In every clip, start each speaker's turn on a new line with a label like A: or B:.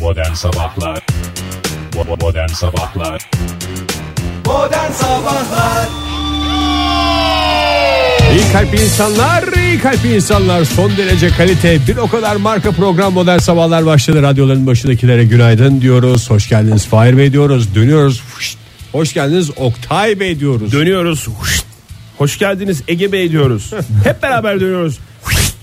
A: Modern Sabahlar Bo- Modern Sabahlar
B: Modern Sabahlar
C: İyi kalpli insanlar, iyi kalpli insanlar. Son derece kalite, bir o kadar marka program modern sabahlar başladı. Radyoların başındakilere günaydın diyoruz. Hoş geldiniz Fahir Bey diyoruz. Dönüyoruz. Fışt. Hoş geldiniz Oktay Bey diyoruz.
D: Dönüyoruz. Huşt. Hoş geldiniz Ege Bey diyoruz. Hep beraber dönüyoruz. Huşt.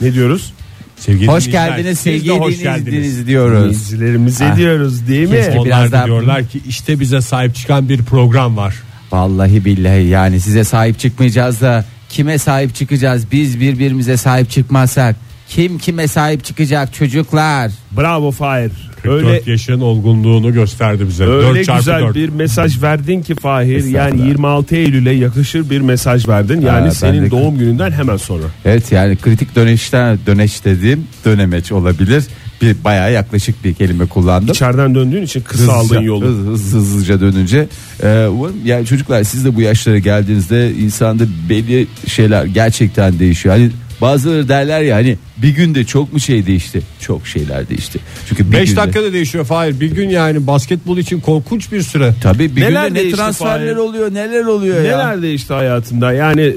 D: Ne diyoruz?
C: Sevgili
B: Hoş
C: dinleyiciler,
B: geldiniz
C: siz de
B: sevgili
C: hoş
B: dinleyicilerimiz diyoruz.
D: Dinleyicilerimize
B: Ah.
D: diyoruz değil mi?
B: Keşke
C: Onlar
B: Biraz
C: da
B: daha-
C: diyorlar ki işte bize sahip çıkan bir program var.
B: Vallahi billahi yani size sahip çıkmayacağız da kime sahip çıkacağız biz birbirimize sahip çıkmazsak kim kime sahip çıkacak çocuklar
D: Bravo Fahir.
C: 44
D: Öyle
C: yaşın olgunluğunu gösterdi bize.
D: öyle
C: 4 çarpı
D: güzel
C: 4.
D: bir mesaj verdin ki Fahir. Yani
B: Estağfurullah.
D: 26 Eylül'e yakışır bir mesaj verdin. Yani
B: ben de-
D: senin doğum gününden hemen sonra.
B: Evet yani kritik döneçten döneç dediğim dönemeç olabilir bir bayağı yaklaşık bir kelime kullandım
D: İçeriden döndüğün için kısa aldın yolu.
B: hız- hız- hızlıca dönünce. Ee, umarım- yani çocuklar siz de bu yaşlara geldiğinizde insanda belli şeyler gerçekten değişiyor. Hani bazıları derler ya hani bir günde çok mu şey değişti? Çok şeyler değişti. Çünkü bir
C: 5
B: günde-
C: dakikada değişiyor Fahir. Bir gün yani basketbol için korkunç bir süre.
B: Tabii bir
D: Neler
B: günde ne
D: değişti
B: transferler
D: Fahir?
B: oluyor neler oluyor ya.
D: Neler değişti hayatında? Yani e,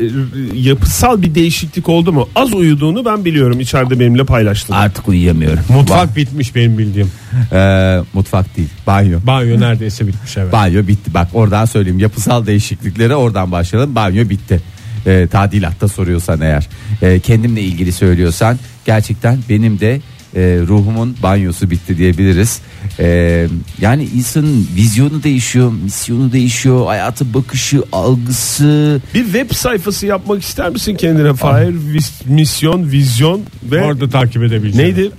D: yapısal bir değişiklik oldu mu? Az uyuduğunu ben biliyorum. İçeride benimle paylaştın.
B: Artık uyuyamıyorum.
C: Mutfak bitmiş benim bildiğim.
B: Ba- Ee, mutfak değil banyo.
C: Banyo neredeyse bitmiş evet.
B: Banyo bitti bak oradan söyleyeyim yapısal değişikliklere oradan başlayalım banyo bitti. Ee, tadilatta soruyorsan eğer e, kendimle ilgili söylüyorsan gerçekten benim de e, ruhumun banyosu bitti diyebiliriz. Ee, yani insanın vizyonu değişiyor, misyonu değişiyor, hayata bakışı, algısı.
D: Bir web sayfası yapmak ister misin kendine Fahir? Vis- misyon, vizyon ve
C: Orada takip edebileceğim.
D: neydi?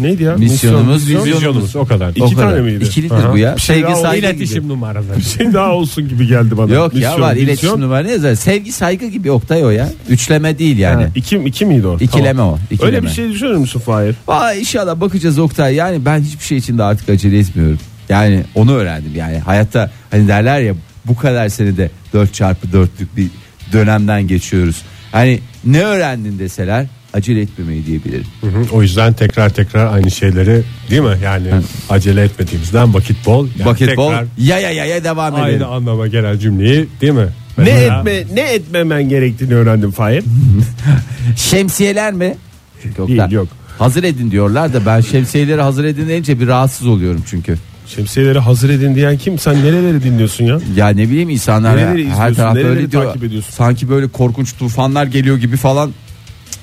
D: Neydi ya?
B: Misyonumuz,
D: Misyon, vizyon.
C: Vizyonumuz o kadar.
D: İki
B: O kadar.
D: tane miydi?
B: İkilidir
D: Aha.
B: bu ya.
D: Bir şey
B: Sevgi,
D: daha oldu.
B: saygı gibi.
C: İletişim numaraları.
D: Bir şey daha olsun gibi geldi bana.
B: Yok ya
D: Misyon,
B: var
D: vizyon.
B: iletişim numarası ne yazar? Sevgi saygı gibi Oktay o ya. Üçleme değil yani.
D: İki, iki miydi o?
B: İkileme
D: Tamam.
B: o. ikileme.
D: Öyle bir şey düşünür müsün Fahir?
B: Aa, inşallah bakacağız Oktay. Yani ben hiçbir şey için de artık acele etmiyorum. Yani onu öğrendim yani. Hayatta hani derler ya bu kadar senede 4 çarpı dörtlük bir dönemden geçiyoruz. Hani ne öğrendin deseler acele etmemeyi diyebilirim.
C: Hı hı, O yüzden tekrar tekrar aynı şeyleri değil mi? Yani acele etmediğimizden vakit bol. Yani
B: Basketbol
C: tekrar
B: ya ya ya ya devam
C: aynı
B: edelim.
C: anlama gelen cümleyi değil mi?
D: Ne
C: Mesela
D: etme ne etmemen gerektiğini öğrendim Fahir.
B: Şemsiyeler mi? Çünkü
D: Değil,
B: Oktay,
D: yok.
B: Hazır edin diyorlar da ben şemsiyeleri hazır edin deyince bir rahatsız oluyorum çünkü.
D: Şemsiyeleri hazır edin diyen kim? Sen nereleri dinliyorsun ya?
B: Ya ne bileyim insanlar ya,
D: Nereleri izliyorsun,
B: her tarafta
D: nereleri
B: öyle diyor.
D: takip ediyorsun?
B: Sanki böyle korkunç tufanlar geliyor gibi falan.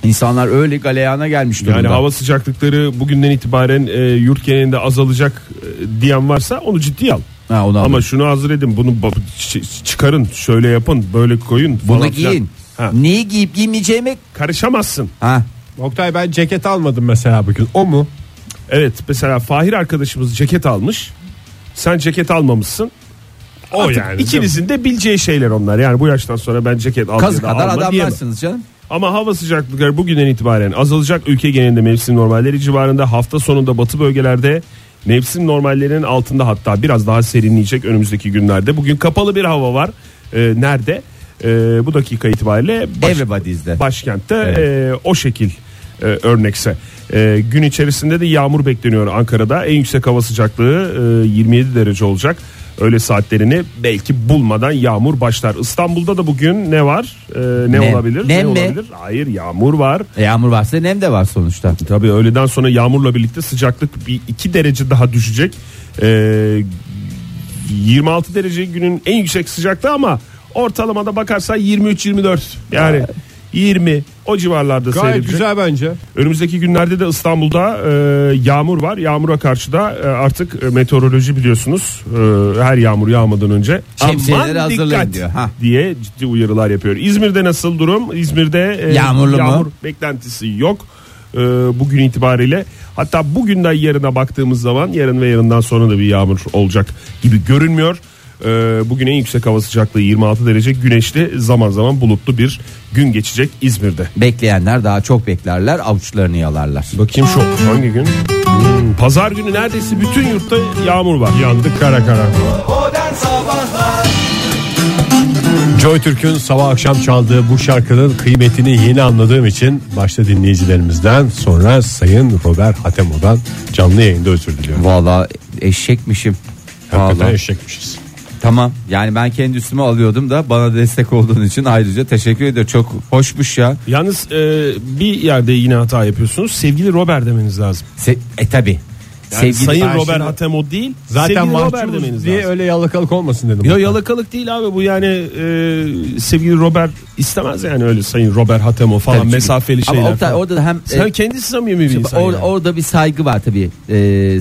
B: İnsanlar öyle galeyana gelmiş durumda.
D: Yani hava sıcaklıkları bugünden itibaren e, yurt genelinde azalacak e, diyen varsa onu ciddiye al.
B: Ha, onu
D: Ama
B: anladım.
D: şunu hazır edin bunu ba- ç- çıkarın şöyle yapın böyle koyun falan
B: bunu
D: filan.
B: giyin.
D: Ha,
B: Neyi giyip giymeyeceğimi
D: karışamazsın.
B: ha
C: Oktay ben ceket almadım mesela bugün. O mu?
D: Evet mesela Fahir arkadaşımız ceket almış. Sen ceket almamışsın.
C: O
D: Artık
C: yani,
D: ikinizin de bileceği şeyler onlar. Yani bu yaştan sonra ben ceket al
B: kaz
D: ya da
B: kadar
D: alma diyemem.
B: adamlarsınız canım.
D: Ama hava sıcaklıkları bugünden itibaren azalacak. Ülke genelinde mevsim normalleri civarında hafta sonunda batı bölgelerde mevsim normallerinin altında hatta biraz daha serinleyecek önümüzdeki günlerde. Bugün kapalı bir hava var. Ee, nerede? Ee, bu dakika itibariyle baş,
B: Everybody's'de.
D: başkentte
B: Evet.
D: e, o şekil e, örnekse. E, gün içerisinde de yağmur bekleniyor Ankara'da. En yüksek hava sıcaklığı e, 27 derece olacak. Öğle saatlerini belki bulmadan yağmur başlar. İstanbul'da da bugün ne var? E, ne,
B: Nem.
D: olabilir?
B: Nem
D: ne
B: mi?
D: olabilir? Hayır, yağmur var.
B: E, Yağmur varsa nem de var sonuçta.
D: Tabii öğleden sonra yağmurla birlikte sıcaklık bir 2 derece daha düşecek. E, 26 derece günün en yüksek sıcaklığı ama ortalamada bakarsan 23-24. Yani 20 o civarlarda
C: Gayet
D: seyredecek.
C: güzel bence.
D: Önümüzdeki günlerde de İstanbul'da e, yağmur var. Yağmura karşı da e, artık e, meteoroloji biliyorsunuz e, her yağmur yağmadan önce
B: Şemsiyeleri
D: aman
B: hazırlayın
D: dikkat
B: diyor. Ha.
D: diye ciddi uyarılar yapıyor. İzmir'de nasıl durum? İzmir'de e,
B: Yağmurlu mu?
D: yağmur beklentisi yok E, bugün itibariyle. Hatta bugünden yarına baktığımız zaman yarın ve yarından sonra da bir yağmur olacak gibi görünmüyor. E, bugün en yüksek hava sıcaklığı 26 derece güneşli zaman zaman bulutlu bir gün geçecek İzmir'de.
B: Bekleyenler daha çok beklerler avuçlarını yalarlar.
D: Bakayım şu hangi gün? Hmm, Pazar günü neredeyse bütün yurtta yağmur var. Yandık kara kara.
C: Joy Türk'ün sabah akşam çaldığı bu şarkının kıymetini yeni anladığım için başta dinleyicilerimizden sonra Sayın Robert Hatemo'dan canlı yayında özür diliyorum.
B: Valla eşekmişim.
C: Hakikaten
B: Vallahi.
C: eşekmişiz.
B: Tamam yani ben kendi üstüme alıyordum da bana destek olduğun için ayrıca teşekkür ederim. Çok hoşmuş ya.
D: Yalnız e, bir yerde yine hata yapıyorsunuz. Sevgili Robert demeniz lazım.
B: Se- e tabi.
D: Yani Sayın Robert Hatemo değil.
C: Zaten
D: sevgili Robert
C: mahcubuz
D: demeniz
C: diye
D: lazım.
C: öyle yalakalık olmasın dedim.
D: Yo yalakalık değil abi bu yani e, sevgili Robert istemez yani öyle Sayın Robert Hatemo falan
B: Tabii çünkü-
D: mesafeli
B: Ama
D: şeyler.
B: Oktay
D: falan.
B: orada da hem
D: Sen
B: e,
D: kendisi samimi bir insan.
B: or-
D: yani.
B: orada bir saygı var tabi.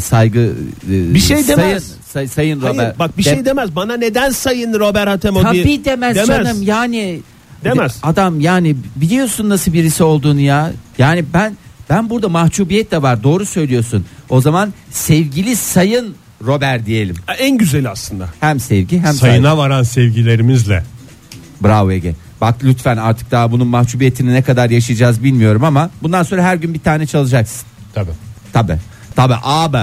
B: saygı bir
D: şey demez.
B: Sayın, say- sayın
D: Hayır,
B: Robert.
D: bak bir
B: De-
D: şey demez. Bana neden Sayın Robert Hatemo diye.
B: Tabii demez, canım yani
D: Demez.
B: adam yani biliyorsun nasıl birisi olduğunu ya. Yani ben ben burada mahcubiyet de var doğru söylüyorsun. O zaman sevgili sayın Robert diyelim.
D: En güzeli aslında.
B: Hem sevgi hem saygı.
C: Sayına varan sevgilerimizle.
B: Bravo Ege. Bak lütfen artık daha bunun mahcubiyetini ne kadar yaşayacağız bilmiyorum ama bundan sonra her gün bir tane çalacaksın.
C: Tabii.
B: Tabi. Tabi abi.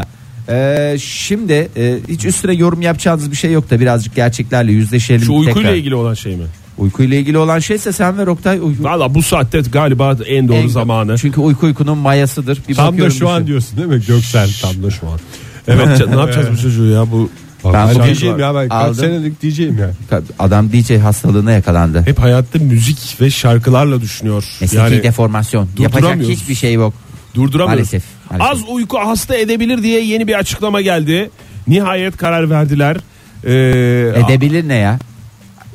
B: Ee, şimdi e, hiç üstüne yorum yapacağınız bir şey yok da birazcık gerçeklerle yüzleşelim.
D: Şu uykuyla
B: tekrar.
D: ilgili olan şey mi?
B: Uykuyla ilgili olan şeyse sen ver Oktay. Uy-
D: Valla bu saatte galiba en doğru
B: En-
D: zamanı. şey.
B: Çünkü uyku uykunun mayasıdır. Bir
C: Tam da
B: bakıyorum
C: şu an
B: düşün.
C: diyorsun değil mi Göksel? Tam da şu an.
D: Evet ne yapacağız bu çocuğu ya bu
B: Ben
C: Ben
B: bugün-
C: DJ'yim ya ben kaç
B: Aldım.
C: senelik DJ'yim ya.
B: şey. Adam DJ hastalığına yakalandı.
D: hep hayatta müzik ve şarkılarla düşünüyor.
B: Mesleki
D: Yani
B: deformasyon. Yapacak
D: durduramıyoruz.
B: hiçbir şey yok.
D: durduramıyor.
B: Maalesef, maalesef.
D: Az uyku hasta edebilir diye yeni bir açıklama geldi. Nihayet karar verdiler. Ee,
B: Edebilir ne ya?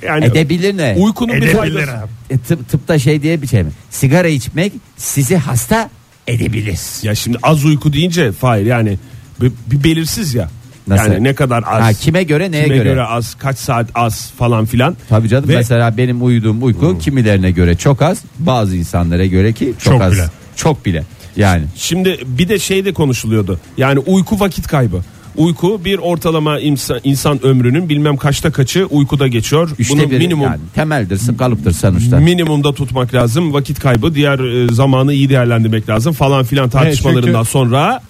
D: yani
B: Edebilir ne?
D: uykunun bir
C: Edebilir
D: faydası.
C: abi.
B: E, tıp, tıpta şey diye bir şey mi? Sigara içmek sizi hasta edebilir.
D: Ya şimdi az uyku deyince fail yani bir, bir belirsiz ya.
B: Nasıl?
D: Yani ne kadar az.
B: Ha, kime göre neye
D: kime
B: göre?
D: az kaç saat az falan filan.
B: Tabii canım
D: Ve
B: mesela benim uyuduğum uyku kimilerine göre çok az, bazı insanlara göre ki çok,
C: Çok
B: az.
C: bile.
B: Çok bile. Yani
D: Şimdi bir de şey de konuşuluyordu. Yani uyku vakit kaybı. Uyku bir ortalama insan, insan ömrünün bilmem kaçta kaçı uykuda geçiyor.
B: üçte
D: Bunu
B: biri
D: minimum
B: yani temeldir, kalıptır sonuçta. E,
D: minimumda tutmak lazım. Vakit kaybı, diğer e, zamanı iyi değerlendirmek lazım falan filan tartışmalarından
C: çünkü-
D: sonra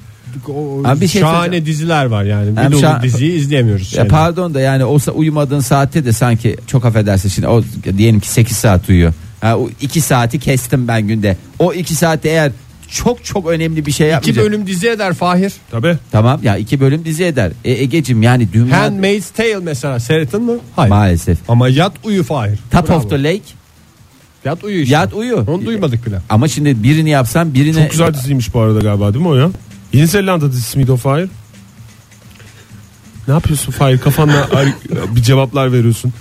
C: O,
B: Abi bir şey
C: şahane
B: söyleyeceğim.
C: diziler var yani.
B: Hem
C: Bir dolu
B: şa-
C: diziyi izleyemiyoruz.
B: Ya
C: yani.
B: pardon da yani olsa uyumadığın saatte de sanki çok affedersin şimdi o diyelim ki 8 saat uyuyor. Ha, o 2 saati kestim ben günde. O 2 saati eğer çok çok önemli bir şey
C: İki
B: yapmayacak.
C: bölüm dizi eder Fahir.
D: tabi
B: Tamam ya 2 bölüm dizi eder. E, Egecim yani dünya
C: Handmaid's Tale mesela seyrettin mi? Hayır.
B: maalesef.
C: Ama yat uyu Fahir.
B: Top
C: Bravo.
B: of the Lake.
C: Yat uyu işte.
B: Yat uyu.
C: Onu duymadık bile.
B: Ama şimdi birini yapsam birini
D: çok güzel diziymiş bu arada galiba değil mi o ya? Yeni Zelanda dizisi miydi o Fahir? Ne yapıyorsun Fahir kafanla ar- bir cevaplar veriyorsun.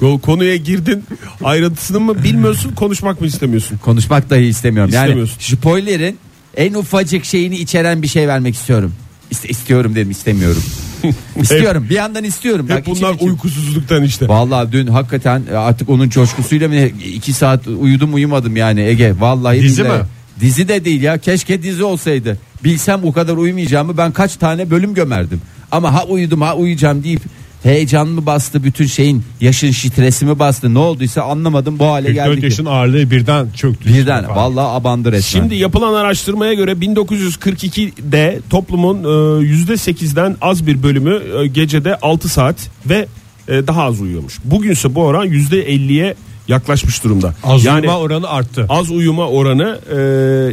D: Ko- Konuya girdin ayrıntısını mı bilmiyorsun konuşmak mı istemiyorsun?
B: konuşmak dahi istemiyorum. Yani
D: İstemiyorsun.
B: spoilerin en ufacık şeyini içeren bir şey vermek istiyorum. İste, istiyorum dedim istemiyorum. istiyorum bir yandan istiyorum.
D: Hep
B: Bak içim
D: bunlar
B: içim.
D: uykusuzluktan işte.
B: Vallahi dün hakikaten e, artık onun coşkusuyla mı ne, iki saat uyudum uyumadım yani Ege. Vallahi
C: Dizi
B: billahi.
C: mi?
B: Dizi de değil ya keşke dizi olsaydı. Bilsem o kadar uyumayacağımı ben kaç tane bölüm gömerdim. Ama ha uyudum ha uyuyacağım deyip heyecan mı bastı bütün şeyin yaşın şitresi mi bastı ne olduysa anlamadım bu hale
C: 44
B: geldik.
C: yaşın ağırlığı birden çöktü.
B: Birden
C: Fahir.
B: vallahi abandı resmen.
D: Şimdi yapılan araştırmaya göre 1942'de toplumun e, %8'den az bir bölümü e, gecede 6 saat ve e, daha az uyuyormuş. Bugünse bu oran %50'ye yaklaşmış durumda.
C: Az
D: yani
C: uyuma oranı arttı.
D: az uyuma oranı e,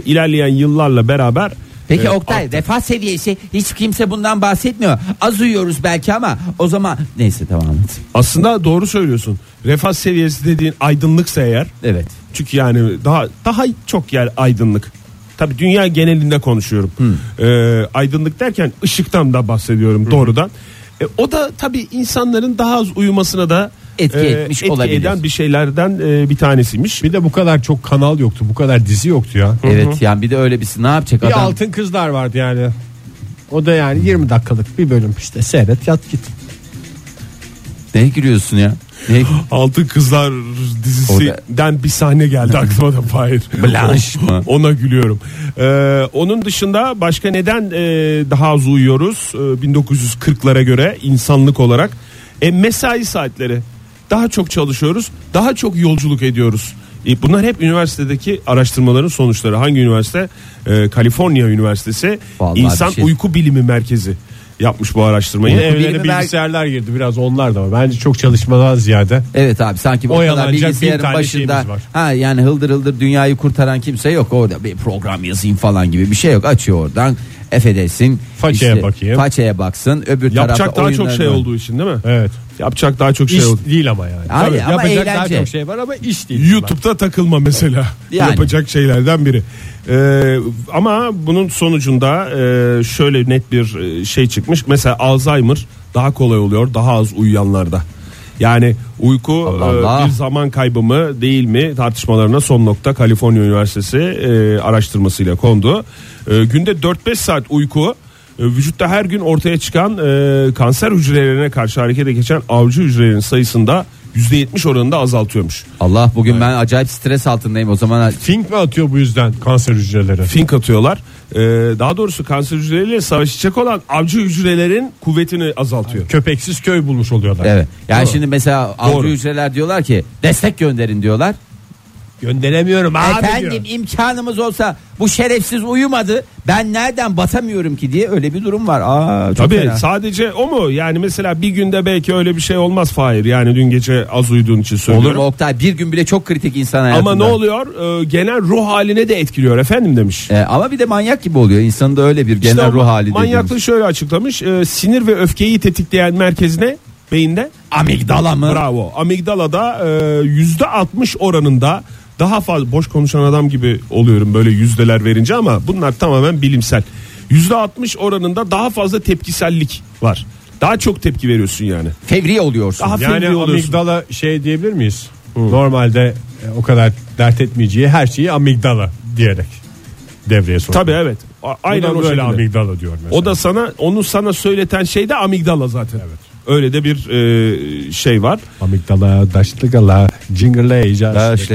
D: ilerleyen yıllarla beraber
B: Peki
D: e,
B: Oktay refah seviyesi hiç kimse bundan bahsetmiyor. Az uyuyoruz belki ama o zaman neyse tamam.
D: aslında doğru söylüyorsun. Refah seviyesi dediğin aydınlıksa eğer
B: Evet.
D: Çünkü yani daha daha çok yer aydınlık. Tabii dünya genelinde konuşuyorum. Ee, aydınlık derken ışıktan da bahsediyorum doğrudan. E, o da tabii insanların daha az uyumasına da e,
B: Etki etmiş olabilir.
D: eden bir şeylerden e, bir tanesiymiş.
C: Bir de bu kadar çok kanal yoktu. Bu kadar dizi yoktu ya.
B: Evet yani bir de öyle birisi ne yapacak
C: Bir
B: adam?
C: altın kızlar vardı yani. O da yani 20 dakikalık bir bölüm işte seyret yat git.
B: Neye gülüyorsun ya? Neye...
D: Altın Kızlar dizisinden bir sahne geldi aklıma da Fahir.
B: Blanche mı?
D: Ona gülüyorum. Ee, onun dışında başka neden e, daha az uyuyoruz? Ee, 1940'lara göre insanlık olarak. E, mesai saatleri. Daha çok çalışıyoruz. Daha çok yolculuk ediyoruz. E, Bunlar hep üniversitedeki araştırmaların sonuçları. Hangi üniversite? E, Kaliforniya Üniversitesi
B: Vallahi
D: İnsan
B: bir şey.
D: Uyku Bilimi Merkezi yapmış bu araştırmayı.
C: Yine
B: Uyku
C: evlere
B: bilimi belki-
C: bilgisayarlar girdi biraz onlar da var. Bence çok çalışmadan ziyade
B: Evet abi sanki bu kadar
C: Oyalanacak bin
B: bilgisayarın
C: tane
B: başında
C: şeyimiz var.
B: ha yani hıldır hıldır dünyayı kurtaran kimse yok orada bir program yazayım falan gibi bir şey yok açıyor oradan efedesin
C: Façaya bakayım.
B: façaya baksın öbür
D: Yapacak
B: tarafta
D: daha çok
B: oyunlar
D: şey
B: var.
D: olduğu için değil mi?
C: evet.
D: Yapacak daha çok şey
C: iş
D: oldu.
C: değil ama yani.
B: Hayır,
C: Tabii,
B: ama
C: yapacak daha
B: eğlence.
C: çok şey var ama iş değil.
D: YouTube'da takılma mesela.
B: Yani.
D: Yapacak şeylerden biri. Ee, ama bunun sonucunda e, şöyle net bir e, şey çıkmış. Mesela Alzheimer daha kolay oluyor daha az uyuyanlarda. Yani uyku
B: Allah
D: e,
B: Allah.
D: bir zaman kaybı mı değil mi tartışmalarına son nokta Kaliforniya Üniversitesi e, araştırmasıyla kondu. E, günde 4-5 saat uyku e, vücutta her gün ortaya çıkan e, kanser hücrelerine karşı harekete geçen avcı hücrelerin sayısında %70 oranında azaltıyormuş.
B: Allah bugün ben acayip stres altındayım o zaman
C: Fink mi atıyor bu yüzden kanser hücreleri?
D: fink atıyorlar. Ee, daha doğrusu kanser hücreleriyle savaşacak olan avcı hücrelerin kuvvetini azaltıyor.
C: Köpeksiz köy bulmuş oluyorlar.
B: evet yani şimdi mesela avcı
D: Doğru.
B: hücreler diyorlar ki destek gönderin diyorlar
C: Gönderemiyorum abi
B: efendim
C: diyor.
B: imkanımız olsa bu şerefsiz uyumadı ben nereden batamıyorum ki diye öyle bir durum var Aa, çok
D: Tabii
B: fena.
D: sadece o mu? Yani mesela bir günde belki öyle bir şey olmaz Fahir. Yani dün gece az uyuduğun için
B: Olur
D: söylüyorum.
B: mu Oktay bir gün bile çok kritik insan hayatında
D: Ama ne oluyor? Ee, genel ruh haline de etkiliyor efendim demiş.
B: E, ama bir de manyak gibi oluyor. İnsanın da öyle bir genel
D: İşte o
B: ruh hali
D: Manyaklığı
B: dediğimiz.
D: şöyle açıklamış. Ee, sinir ve öfkeyi tetikleyen merkezine beyinde
B: Amigdala mı?
D: Bravo. Amigdala'da e, yüzde 60 oranında daha fazla boş konuşan adam gibi oluyorum böyle yüzdeler verince ama bunlar tamamen bilimsel. Yüzde 60 oranında daha fazla tepkisellik var. Daha çok tepki veriyorsun yani.
B: Fevri oluyorsun.
D: Daha
C: Yani
D: fevri oluyorsun.
C: amigdala şey diyebilir miyiz? Normalde e, o kadar dert etmeyeceği her şeyi amigdala diyerek devreye sokuyor.
D: Tabii evet. A-
C: Aynen
D: Aynen o
C: böyle
D: şekilde.
C: amigdala diyor mesela.
D: O da sana onu sana söyleten şey de amigdala zaten. Evet. Öyle de bir e, şey var.
C: amigdala, daşlıgala, cingırlayacağız.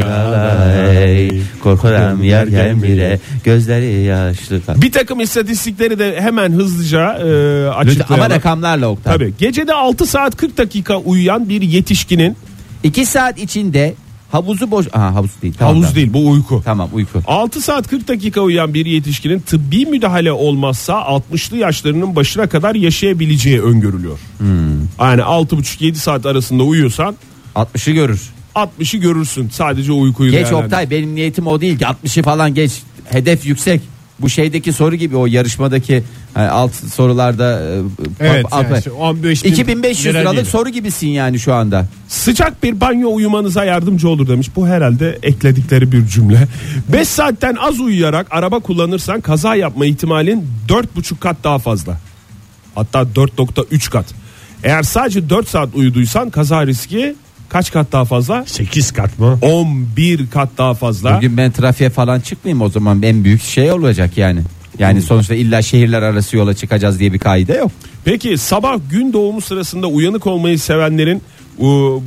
B: korkarım yer gelmire gözleri yaşlı.
D: Bir takım istatistikleri de hemen hızlıca e, açıklayalım.
B: Ama rakamlarla Oktay.
D: Tabii. Gecede 6 saat 40 dakika uyuyan bir yetişkinin
B: İki saat içinde havuzu boş... Aha havuz değil. Tamam,
D: Havuz
B: tamam.
D: değil bu uyku.
B: Tamam uyku.
D: 6 saat 40 dakika uyuyan bir yetişkinin tıbbi müdahale olmazsa 60'lı yaşlarının başına kadar yaşayabileceği öngörülüyor.
B: Hmm.
D: Yani 6,5-7 saat arasında uyuyorsan
B: 60'ı görür.
D: 60'ı görürsün sadece uykuyu
B: Geç
D: değerlendir.
B: Oktay benim niyetim o değil ki 60'ı falan geç. Hedef yüksek. Bu şeydeki soru gibi o yarışmadaki hani alt sorularda e,
C: Evet.
B: alt- alt-
C: yani işte 15 bin
B: 2500
C: lira
B: liralık
C: değil.
B: soru gibisin yani şu anda.
D: Sıcak bir banyo uyumanıza yardımcı olur demiş. Bu herhalde ekledikleri bir cümle. 5 saatten az uyuyarak araba kullanırsan kaza yapma ihtimalin 4,5 kat daha fazla. Hatta 4.3 kat. Eğer sadece 4 saat uyuduysan kaza riski kaç kat daha fazla?
C: 8 kat mı?
D: 11 kat daha fazla.
B: Bugün ben trafiğe falan çıkmayayım o zaman en büyük şey olacak yani. Yani sonuçta illa şehirler arası yola çıkacağız diye bir kaide yok.
D: Peki sabah gün doğumu sırasında uyanık olmayı sevenlerin e,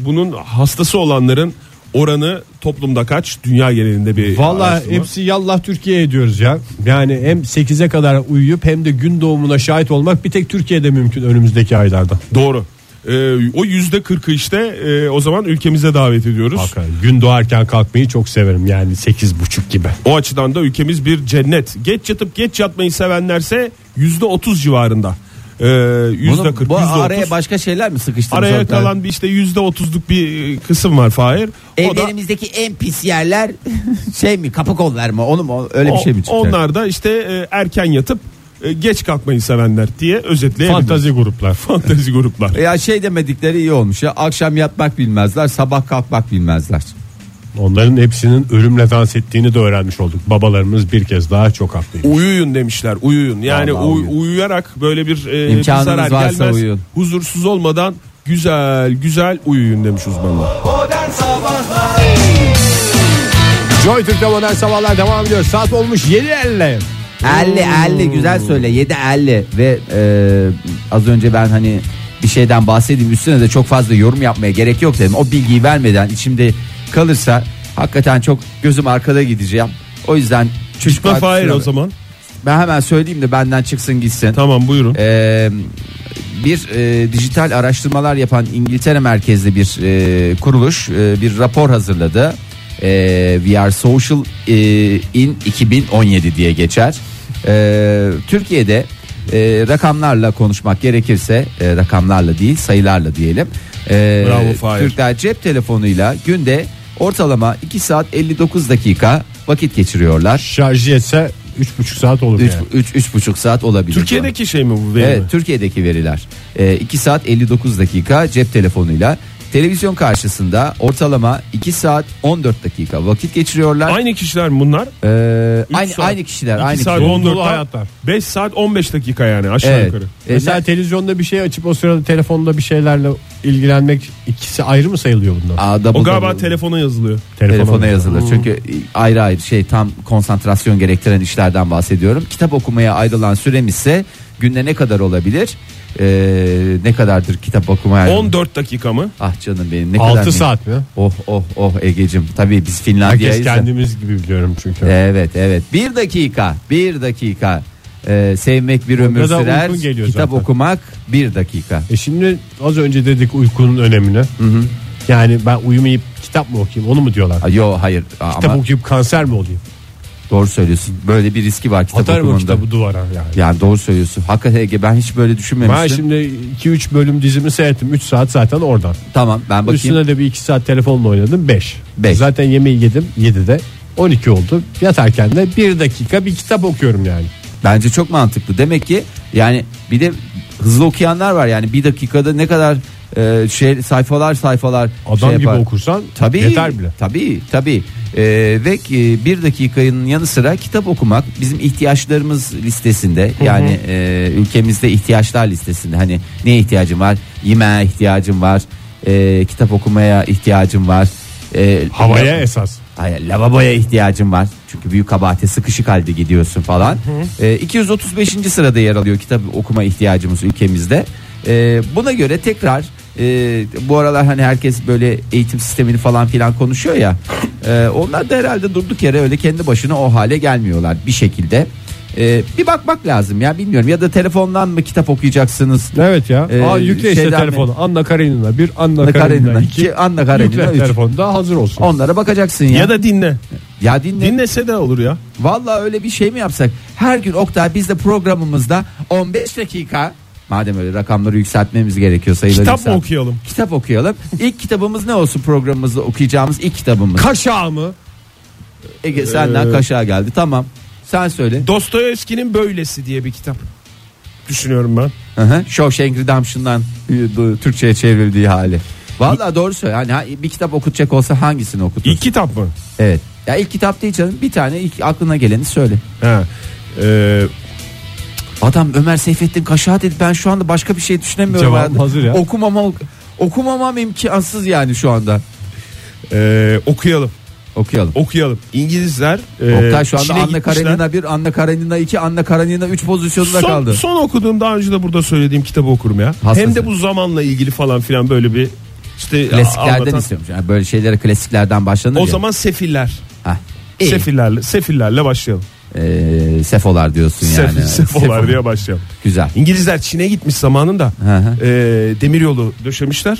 D: bunun hastası olanların oranı toplumda kaç? Dünya genelinde bir
C: Valla
D: araştırma.
C: hepsi yallah Türkiye ediyoruz ya. Yani hem 8'e kadar uyuyup hem de gün doğumuna şahit olmak bir tek Türkiye'de mümkün önümüzdeki aylarda.
D: Doğru. Ee, o yüzde kırkı işte e, o zaman ülkemize davet ediyoruz.
C: Bakın gün doğarken kalkmayı çok severim yani 8.30 gibi.
D: O açıdan da ülkemiz bir cennet. Geç yatıp geç yatmayı sevenlerse yüzde otuz civarında. Ee, Yüzde
B: Bunu-
D: kırk,
B: bu
D: yüzde
B: araya
D: otuz.
B: başka şeyler mi sıkıştınız?
D: Araya
B: Oktay?
D: kalan bir işte yüzde otuzluk bir e, kısım var Fahir. O da
B: Evlerimizdeki en pis yerler şey mi kapı kollar mı onu mu öyle bir şey mi
D: o-
B: çıkacak?
D: Onlar da işte e, erken yatıp e, geç kalkmayı sevenler diye özetleyebiliriz.
C: Fantazi gruplar.
D: Fantezi gruplar.
B: Ya şey demedikleri iyi olmuş ya akşam yatmak bilmezler sabah kalkmak bilmezler.
C: Onların hepsinin ölümle dans ettiğini de öğrenmiş olduk. Babalarımız bir kez daha çok haklıydı.
D: Uyuyun demişler uyuyun yani
B: Vallahi
D: uy-
B: uyuyun.
D: uyuyarak böyle bir, e, bir
B: İmkanınız
D: zarar
B: varsa
D: gelmez
B: uyuyun.
D: huzursuz olmadan güzel güzel uyuyun demiş uzmanlar.
C: Joy Türk'te modern sabahlar devam ediyor. Saat olmuş 7.50.
B: 50 50 güzel söyle 7 50 ve e, az önce ben hani bir şeyden bahsedeyim üstüne de çok fazla yorum yapmaya gerek yok dedim. O bilgiyi vermeden içimde kalırsa hakikaten çok gözüm arkada gideceğim. O yüzden çocuk
D: Çıkma
B: parkı
D: Fahir o
B: sıra-
D: zaman.
B: Ben hemen söyleyeyim de benden çıksın gitsin.
D: Tamam buyurun.
B: Ee, bir e, dijital araştırmalar yapan İngiltere merkezli bir e, kuruluş e, bir rapor hazırladı. Ee, We Are Social e, in 2017 diye geçer. Ee, Türkiye'de e, rakamlarla konuşmak gerekirse e, rakamlarla değil sayılarla diyelim. Ee,
D: Bravo, Fahir.
B: Türkler cep telefonuyla günde ortalama 2 saat 59 dakika vakit geçiriyorlar.
C: Şarj etse 3,5 saat olur
B: 3
C: yani.
B: 3 buçuk saat olabilir.
D: Türkiye'deki şey mi bu?
B: Evet
D: Evet.
B: Türkiye'deki veriler. Ee, 2 saat 59 dakika cep telefonuyla televizyon karşısında ortalama 2 saat 14 dakika vakit geçiriyorlar.
D: Aynı kişiler mi bunlar?
B: Ee,
D: Üç
B: aynı,
D: saat.
B: aynı kişiler
D: İki
B: aynı
D: saat
B: kişiler.
C: on-
D: 14
C: Dolu hayatlar.
D: 5 saat 15 dakika yani aşağı
B: Evet.
D: yukarı.
B: Ee,
C: Mesela
B: ne-
C: televizyonda bir şey açıp o sırada telefonda bir şeylerle ilgilenmek ikisi ayrı mı sayılıyor bunlar?
B: Aa, double
D: O galiba Hmm.
B: double.
D: telefona yazılıyor.
B: telefona yazılır. Çünkü ayrı ayrı şey tam konsantrasyon gerektiren işlerden bahsediyorum. Kitap okumaya ayrılan sürem ise günde ne kadar olabilir? Ee, ne kadardır kitap okumaya?
D: 14 dakika mı?
B: Ah canım benim ne kadar?
C: 6
B: mı-
C: saat mi?
B: Oh oh oh Egecim. Tabii biz
C: Herkes
B: Finlandiya'yız. da-
C: kendimiz gibi biliyorum çünkü.
B: Evet evet bir dakika bir dakika Ee, sevmek bir ömür
C: da
B: sürer
C: uykun geliyor
B: kitap
C: zaten.
B: okumak bir dakika
C: E şimdi az önce dedik uykunun önemini. Yani ben uyumayıp kitap mı okuyayım onu mu diyorlar?
B: Aa, Yo hayır Aa,
C: kitap
B: ama
C: okuyup kanser mi olayım?
B: doğru söylüyorsun böyle bir riski var kitap
C: Atarım o
B: okumanda
C: kitabı duvara yani.
B: yani doğru söylüyorsun hakikaten Ege, ben hiç böyle düşünmemiştim
C: Ben şimdi 2-3 bölüm dizimi seyrettim 3 saat zaten oradan.
B: tamam ben bakayım
C: Üstüne de bir 2 saat telefonla oynadım 5.
B: Beş.
C: Zaten yemeği yedim 7'de 12 oldu. Yatarken de 1 dakika bir kitap okuyorum yani.
B: bence çok mantıklı demek ki yani bir de hızlı okuyanlar var yani bir dakikada ne kadar e, şey sayfalar sayfalar
C: Adam
B: şey
C: gibi
B: yapar.
C: okursan
B: Tabii,
C: yeter bile.
B: Tabii tabii. Ee, ve e, bir dakikanın yanı sıra kitap okumak bizim ihtiyaçlarımız listesinde yani e, ülkemizde ihtiyaçlar listesinde hani neye ihtiyacım var? Yemeğe ihtiyacım var. E, kitap okumaya ihtiyacım var. E,
C: Havaya
B: la-
C: esas.
B: Hayır, lavaboya ihtiyacım var. Çünkü büyük kabahate sıkışık halde gidiyorsun falan. E, 235. sırada yer alıyor kitap okuma ihtiyacımız ülkemizde. E, buna göre tekrar e, bu aralar hani herkes böyle eğitim sistemini falan filan konuşuyor ya. E, onlar da herhalde durduk yere öyle kendi başına o hale gelmiyorlar bir şekilde. E, bir bakmak lazım ya bilmiyorum ya da telefondan mı kitap okuyacaksınız?
C: Evet ya.
B: Ee,
C: Aa, yükle işte
B: şeyden
C: telefonu. Anna Karenina 1, Anna,
B: Anna
C: Karenina,
B: Karenina
C: 2.
B: iki, Anna Karenina
C: yükle
B: üç.
C: telefonu da hazır olsun.
B: Onlara bakacaksın ya.
D: Ya da dinle.
B: ya dinle.
D: Dinlese de olur ya.
B: Vallahi öyle bir şey mi yapsak? Her gün Oktay biz de programımızda 15 dakika madem öyle rakamları yükseltmemiz gerekiyor sayıları
D: Kitap mı
B: yükselt-
D: okuyalım?
B: Kitap okuyalım. İlk kitabımız ne olsun programımızda okuyacağımız ilk kitabımız.
C: Kaşağı mı?
B: Ege senden
D: Ee,
B: kaşağı geldi. Tamam. Sen söyle.
D: Dostoyevski'nin böylesi diye bir kitap. Düşünüyorum ben.
B: Hı hı. Shawshank Redemption'dan e, bu Türkçe'ye çevrildiği hali. Vallahi doğru söyle. Hani ha- bir kitap okutacak olsa hangisini okutursun?
D: İlk kitap mı?
B: Evet. Ya ilk kitap değil canım. Bir tane ilk aklına geleni söyle.
D: He. Ee,
B: Adam Ömer Seyfettin Kaşağı dedi ben şu anda başka bir şey düşünemiyorum.
C: Cevabım
B: hayatım.
C: hazır ya.
B: Okumama, okumamam imkansız yani şu anda.
D: ee, okuyalım.
B: Okuyalım.
D: Okuyalım. İngilizler ee,
B: Oktay şu anda
D: Çin'e
B: Anna
D: gitmişler.
B: Karenina 1, Anna Karenina 2, Anna Karenina 3 pozisyonunda
D: son,
B: kaldı.
D: Son okuduğum daha önce de burada söylediğim kitabı okurum ya.
B: Hastası.
D: Hem de bu zamanla ilgili falan filan böyle bir işte
B: Klasiklerden
D: anlatan-
B: istiyormuş. Yani böyle şeylere klasiklerden başlanır
D: O
B: ya.
D: zaman sefiller.
B: Hah. İyi.
D: Sefillerle sefillerle başlayalım.
B: Ee, sefolar diyorsun yani.
D: Sef, sefolar
B: Sefo-
D: diye başlayalım.
B: Güzel.
D: İngilizler Çin'e gitmiş zamanında
B: Hı hı.
D: e, demir yolu döşemişler.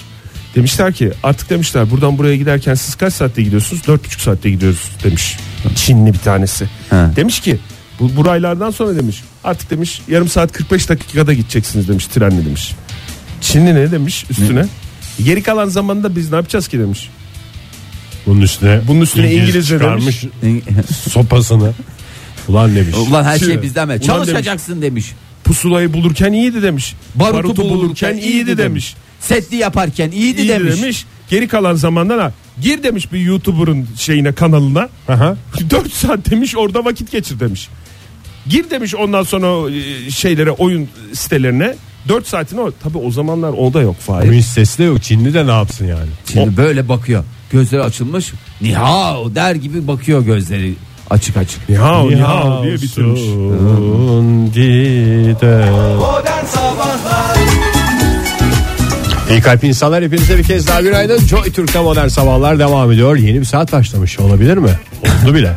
D: Demişler ki artık demişler buradan buraya giderken siz kaç saatte gidiyorsunuz? Dört buçuk saatte gidiyoruz demiş Çinli bir tanesi.
B: Hı.
D: Demiş ki bu buraylardan sonra demiş artık demiş yarım saat 45 dakikada gideceksiniz demiş trenle demiş. Çinli ne demiş üstüne? Geri kalan zamanda biz ne yapacağız ki demiş.
C: Bunun üstüne.
D: Bunun üstüne İngilizce
C: çıkarmış sopasını. Ulan demiş.
B: Ulan her şey
D: Şimdi-
B: bizden mi?
D: Ulan
B: Çalışacaksın demiş.
D: Pusulayı bulurken iyiydi demiş.
B: Barutu, bulurken iyiydi
D: demiş.
B: demiş. Setli yaparken iyiydi,
D: İyi
B: demiş.
D: Geri kalan zamandan ha. Gir demiş bir YouTuber'ın şeyine kanalına.
C: Aha.
D: 4 saat demiş orada vakit geçir demiş. Gir demiş ondan sonra o, e, şeylere oyun sitelerine 4 saatini o. Tabi o zamanlar o da yok
C: Bunun
D: Fahir.
C: hiç sesi de yok. Çinli de ne yapsın yani?
B: Şimdi böyle bakıyor. Gözleri açılmış. Nihao der gibi bakıyor gözleri açık açık.
D: Nihao nihao diye bitirmiş.
C: İyi kalp insanlar hepinize bir kez daha günaydın. Joy Türk'te modern sabahlar devam ediyor. Yeni bir saat başlamış olabilir mi? Oldu bile.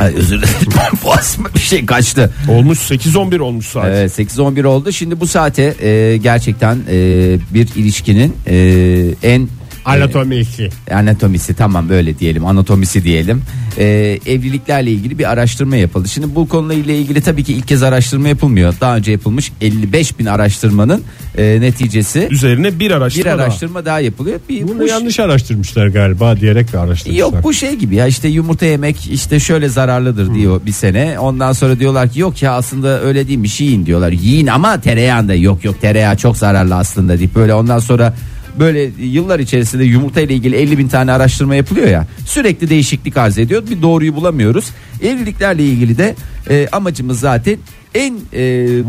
B: Ay, özür dilerim. Boğazıma bir şey kaçtı.
D: Olmuş 8-11 olmuş saat.
B: Evet, 8-11 oldu. Şimdi bu saate e, gerçekten e, bir ilişkinin e, en
C: Ee, Anatomikli.
B: anatomisi tamam böyle diyelim anatomisi diyelim Ee, evliliklerle ilgili bir araştırma yapıldı. Şimdi bu konuyla ilgili tabii ki ilk kez araştırma yapılmıyor. Daha önce yapılmış 55 bin araştırmanın e, neticesi
D: Üzerine bir
B: bir
D: araştırma daha.
B: araştırma daha, yapılıyor. Bir,
C: Bunu
B: bu-
C: yanlış araştırmışlar galiba diyerek de araştırmışlar.
B: Yok bu şey gibi ya işte yumurta yemek işte şöyle zararlıdır diyor
C: Hmm.
B: bir sene. Ondan sonra diyorlar ki yok ya aslında öyle değilmiş yiyin diyorlar. Yiyin ama tereyağında yok yok tereyağı çok zararlı aslında deyip böyle ondan sonra böyle yıllar içerisinde yumurta ile ilgili 50 bin tane araştırma yapılıyor ya sürekli değişiklik arz ediyor bir doğruyu bulamıyoruz evliliklerle ilgili de e, amacımız zaten en e,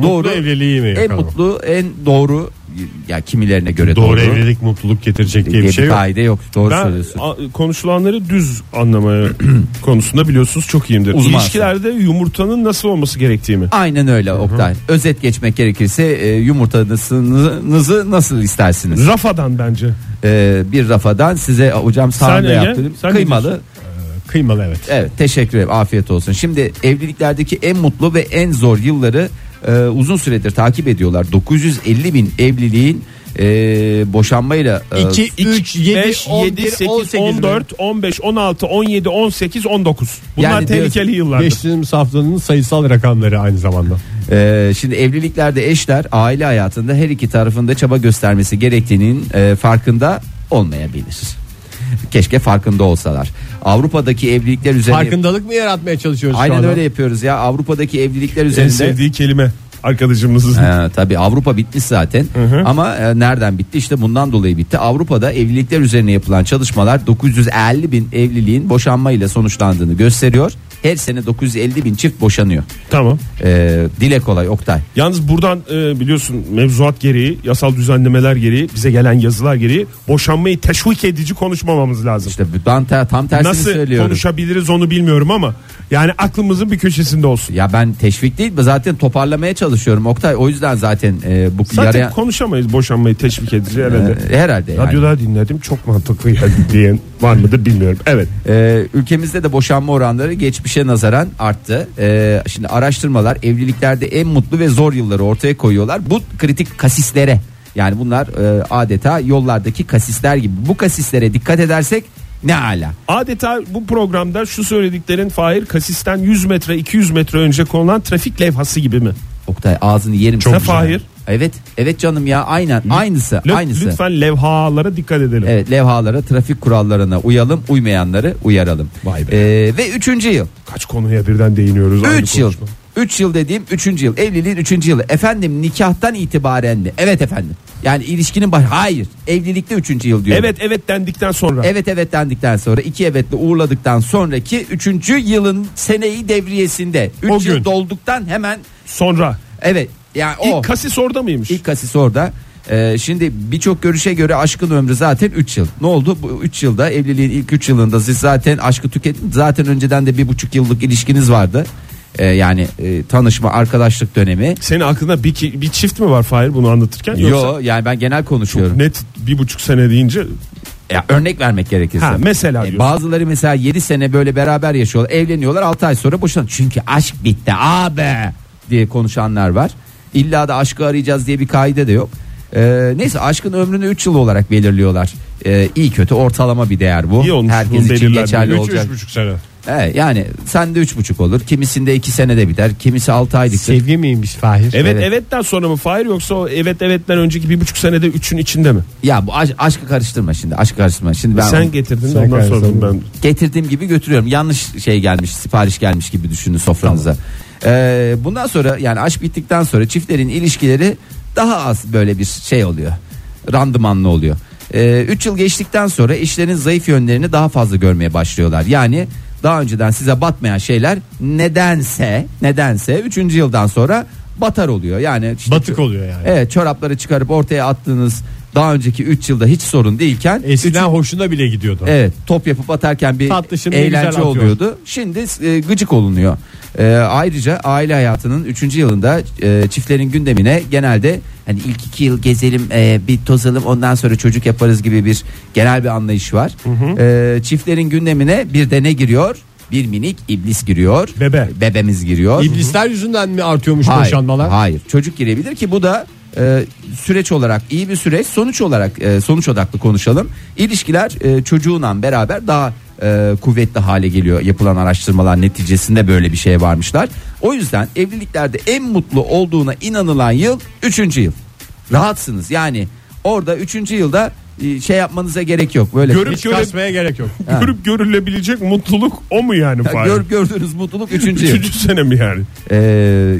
B: doğru
C: evliliği mi
B: en
C: yakalım?
B: mutlu en doğru ya kimilerine göre E, doğru,
C: Doğru evlilik mutluluk getirecek diye
B: diye
C: bir şey yok.
B: faide yok doğru
D: Ben
B: söylüyorsun
D: a- konuşulanları düz anlamaya konusunda biliyorsunuz çok iyiyimdir.
B: Uzmansın.
D: İlişkilerde yumurtanın nasıl olması gerektiğini.
B: Aynen öyle Oktay. Özet geçmek gerekirse e, yumurtanızı nasıl istersiniz?
D: Rafadan bence.
B: E, bir rafadan size hocam sağında
D: Ege,
B: yaptım.
D: sen ne
B: Kıymalı.
D: diyorsun?
C: Kıymalı evet.
B: Evet teşekkür ederim afiyet olsun. Şimdi evliliklerdeki en mutlu ve en zor yılları e, uzun süredir takip ediyorlar. 950 bin evliliğin e, boşanmayla e,
C: 2, 3, 7,
D: 5,
C: 10,
D: 7, 8,
B: 18,
D: 14, 15, 16, 17, 18, 19. Bunlar
B: Yani
D: tehlikeli
B: diyorsun-
D: yıllardır.
C: Geçtiğimiz haftanın sayısal rakamları aynı zamanda.
B: Ee, şimdi evliliklerde eşler aile hayatında her iki tarafında çaba göstermesi gerektiğinin e, farkında olmayabilir. Keşke farkında olsalar. Avrupa'daki evlilikler üzerine
C: Farkındalık mı yaratmaya çalışıyoruz şu
B: aynen
C: anda?
B: öyle yapıyoruz ya. Avrupa'daki evlilikler
D: En
B: üzerinde
D: sevdiği kelime arkadaşımızın.
B: ee, tabii Avrupa bitmiş zaten ama e, nereden bitti işte bundan dolayı bitti Avrupa'da evlilikler üzerine yapılan çalışmalar 950 bin evliliğin boşanmayla sonuçlandığını gösteriyor her sene 950 bin çift boşanıyor
D: Tamam.
B: ee, dile kolay Oktay
D: Yalnız buradan e, biliyorsun mevzuat gereği, yasal düzenlemeler gereği, bize gelen yazılar gereği boşanmayı teşvik edici konuşmamamız lazım.
B: işte ben te- tam tersini
D: Nasıl
B: söylüyorum
D: konuşabiliriz onu bilmiyorum ama yani aklımızın bir köşesinde olsun.
B: Ya ben teşvik değil zaten toparlamaya çalışıyorum Oktay. O yüzden zaten e, bu
D: Zaten
B: yarayan-
D: konuşamayız boşanmayı teşvik edici herhalde.
B: E, herhalde yani.
D: Radyoda dinledim çok mantıklı yani diyen var mıdır bilmiyorum. Evet.
B: E, ülkemizde de boşanma oranları geçmişe nazaran arttı. E, şimdi araştırmalar evliliklerde en mutlu ve zor yılları ortaya koyuyorlar. Bu kritik kasislere yani bunlar e, adeta yollardaki kasisler gibi. Bu kasislere dikkat edersek ne ala.
D: Adeta bu programda şu söylediklerin Fahir Kasis'ten 100 metre 200 metre önce konulan trafik levhası gibi mi?
B: Oktay ağzını yerim.
D: Çok
B: senin.
D: güzel. Hayır.
B: Evet, evet canım ya aynen aynısı,
D: Lüt-
B: aynısı.
D: Lütfen levhalara dikkat edelim.
B: Evet levhalara trafik kurallarına uyalım uymayanları uyaralım.
D: Vay be.
B: Ee, ve üçüncü yıl.
D: Kaç konuya birden değiniyoruz. aynı
B: 3 yıl.
D: konuşma.
B: 3 yıl dediğim 3. yıl. Evliliğin 3. yılı. Efendim nikahtan itibaren mi? Evet efendim. Yani ilişkinin baş... Hayır. Evlilikte 3. yıl diyorum.
D: Evet evet dendikten sonra.
B: Evet evet dendikten sonra iki evetle uğurladıktan sonraki 3. yılın seneyi devriyesinde.
D: O
B: 3
D: gün.
B: yıl dolduktan hemen
D: Sonra.
B: evet. Yani o.
D: İlk kasis orada mıymış?
B: Oh. İlk kasis orada. Ee, şimdi birçok görüşe göre aşkın ömrü zaten 3 yıl. Ne oldu? Bu 3 yılda evliliğin ilk 3 yılında siz zaten aşkı tükettiniz. Zaten önceden de bir buçuk yıllık ilişkiniz vardı. Ee, yani e, tanışma, arkadaşlık dönemi.
D: Senin aklında bir, ki- bir çift mi var Fahir bunu anlatırken? Yoksa
B: Yo yani ben genel konuşuyorum.
D: net bir buçuk sene deyince
B: Ya, örnek vermek gerekirse. E,
D: Ha, mesela diyorsun.
B: bazıları mesela 7 sene böyle beraber yaşıyorlar. Evleniyorlar 6 ay sonra boşan. Çünkü aşk bitti abi diye konuşanlar var. İlla da aşkı arayacağız diye bir kaide de yok. Ee, neyse aşkın ömrünü 3 yıl olarak belirliyorlar. Ee, iyi kötü ortalama bir değer bu.
D: İyi olmuş bunun
B: Herkes için
D: belirlenmesi.
B: geçerli
D: Üç,
B: olacak.
C: 3,5 sene.
B: Evet, yani sende 3,5 olur. Kimisinde 2 senede biter. Kimisi 6 aylıktır.
C: Sevgi miymiş Fahir?
D: evet,
B: Evet.
D: evetten sonra mı Fahir yoksa o evet evetten önceki bir buçuk senede üçün içinde mi?
B: ya bu aş- aşkı karıştırma şimdi. Aşkı karıştırma. Şimdi ben
D: Sen getirdin
C: Sen
D: ondan
C: kaynasın.
D: sordum ben.
B: getirdiğim gibi götürüyorum. Yanlış şey gelmiş, sipariş gelmiş gibi düşünün sofranıza. Ee, bundan sonra yani aşk bittikten sonra çiftlerin ilişkileri daha az böyle bir şey oluyor. Randımanlı oluyor. 3 yıl geçtikten sonra eşlerin zayıf yönlerini daha fazla görmeye başlıyorlar. Yani daha önceden size batmayan şeyler nedense nedense 3. yıldan sonra batar oluyor. Yani işte-
C: Batık oluyor yani.
B: Evet çorapları çıkarıp ortaya attığınız daha önceki 3 yılda hiç sorun değilken
C: Eskiden hoşuna bile gidiyordu.
B: Evet top yapıp atarken bir
C: Tatlı, şimdi güzel
B: eğlence
C: atıyor.
B: oluyordu. Şimdi e, gıcık olunuyor. E, ayrıca aile hayatının 3. yılında e, çiftlerin gündemine genelde hani ilk 2 yıl gezelim e, bir tozalım ondan sonra çocuk yaparız gibi bir genel bir anlayış var. E, çiftlerin gündemine bir de ne giriyor? Bir minik iblis giriyor.
C: Bebe.
B: Bebemiz giriyor.
C: İblisler yüzünden mi artıyormuş
B: Hayır,
C: boşanmalar?
B: Hayır. Çocuk girebilir ki bu da e, süreç olarak iyi bir süreç sonuç olarak e, sonuç odaklı konuşalım. İlişkiler e, çocuğunla beraber daha e, kuvvetli hale geliyor yapılan araştırmalar neticesinde böyle bir şeye varmışlar. O yüzden evliliklerde en mutlu olduğuna inanılan yıl 3. yıl. Rahatsınız yani orada 3. yılda e, şey yapmanıza gerek yok. Böyle
D: Görüp
C: Hiç
D: Göre-
C: kasmaya gerek yok.
D: Görüp görülebilecek mutluluk o mu yani?
B: Ya
D: Fahir?
B: Gör, gördüğünüz mutluluk 3. yıl.
D: Üçüncü sene mi yani?
B: Ee,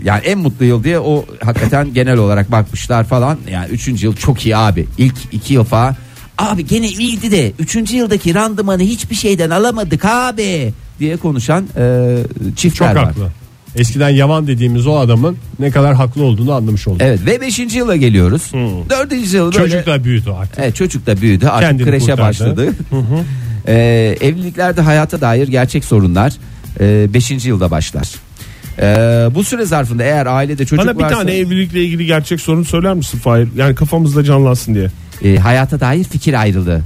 B: yani en mutlu yıl diye o hakikaten genel olarak bakmışlar falan. Yani 3. yıl çok iyi abi. İlk 2 yıl falan. Abi gene iyiydi de 3. yıldaki randımanı hiçbir şeyden alamadık abi diye konuşan e,
C: Çok
B: çiftler var.
C: haklı. Eskiden yaman dediğimiz o adamın ne kadar haklı olduğunu anlamış olduk.
B: Evet ve 5. yıla geliyoruz. 4. yıl böyle
C: Çocuk da büyüdü artık.
B: Evet çocuk da büyüdü artık
C: Kendini
B: kreşe
C: kurtardı.
B: başladı. Ee, evliliklerde hayata dair gerçek sorunlar 5. yılda başlar. Ee, bu süre zarfında eğer ailede çocuk
D: Bana bir
B: varsa
D: tane evlilikle ilgili gerçek sorun söyler misin Fahir? Yani kafamızda canlansın diye.
B: e, hayata dair fikir ayrılığı.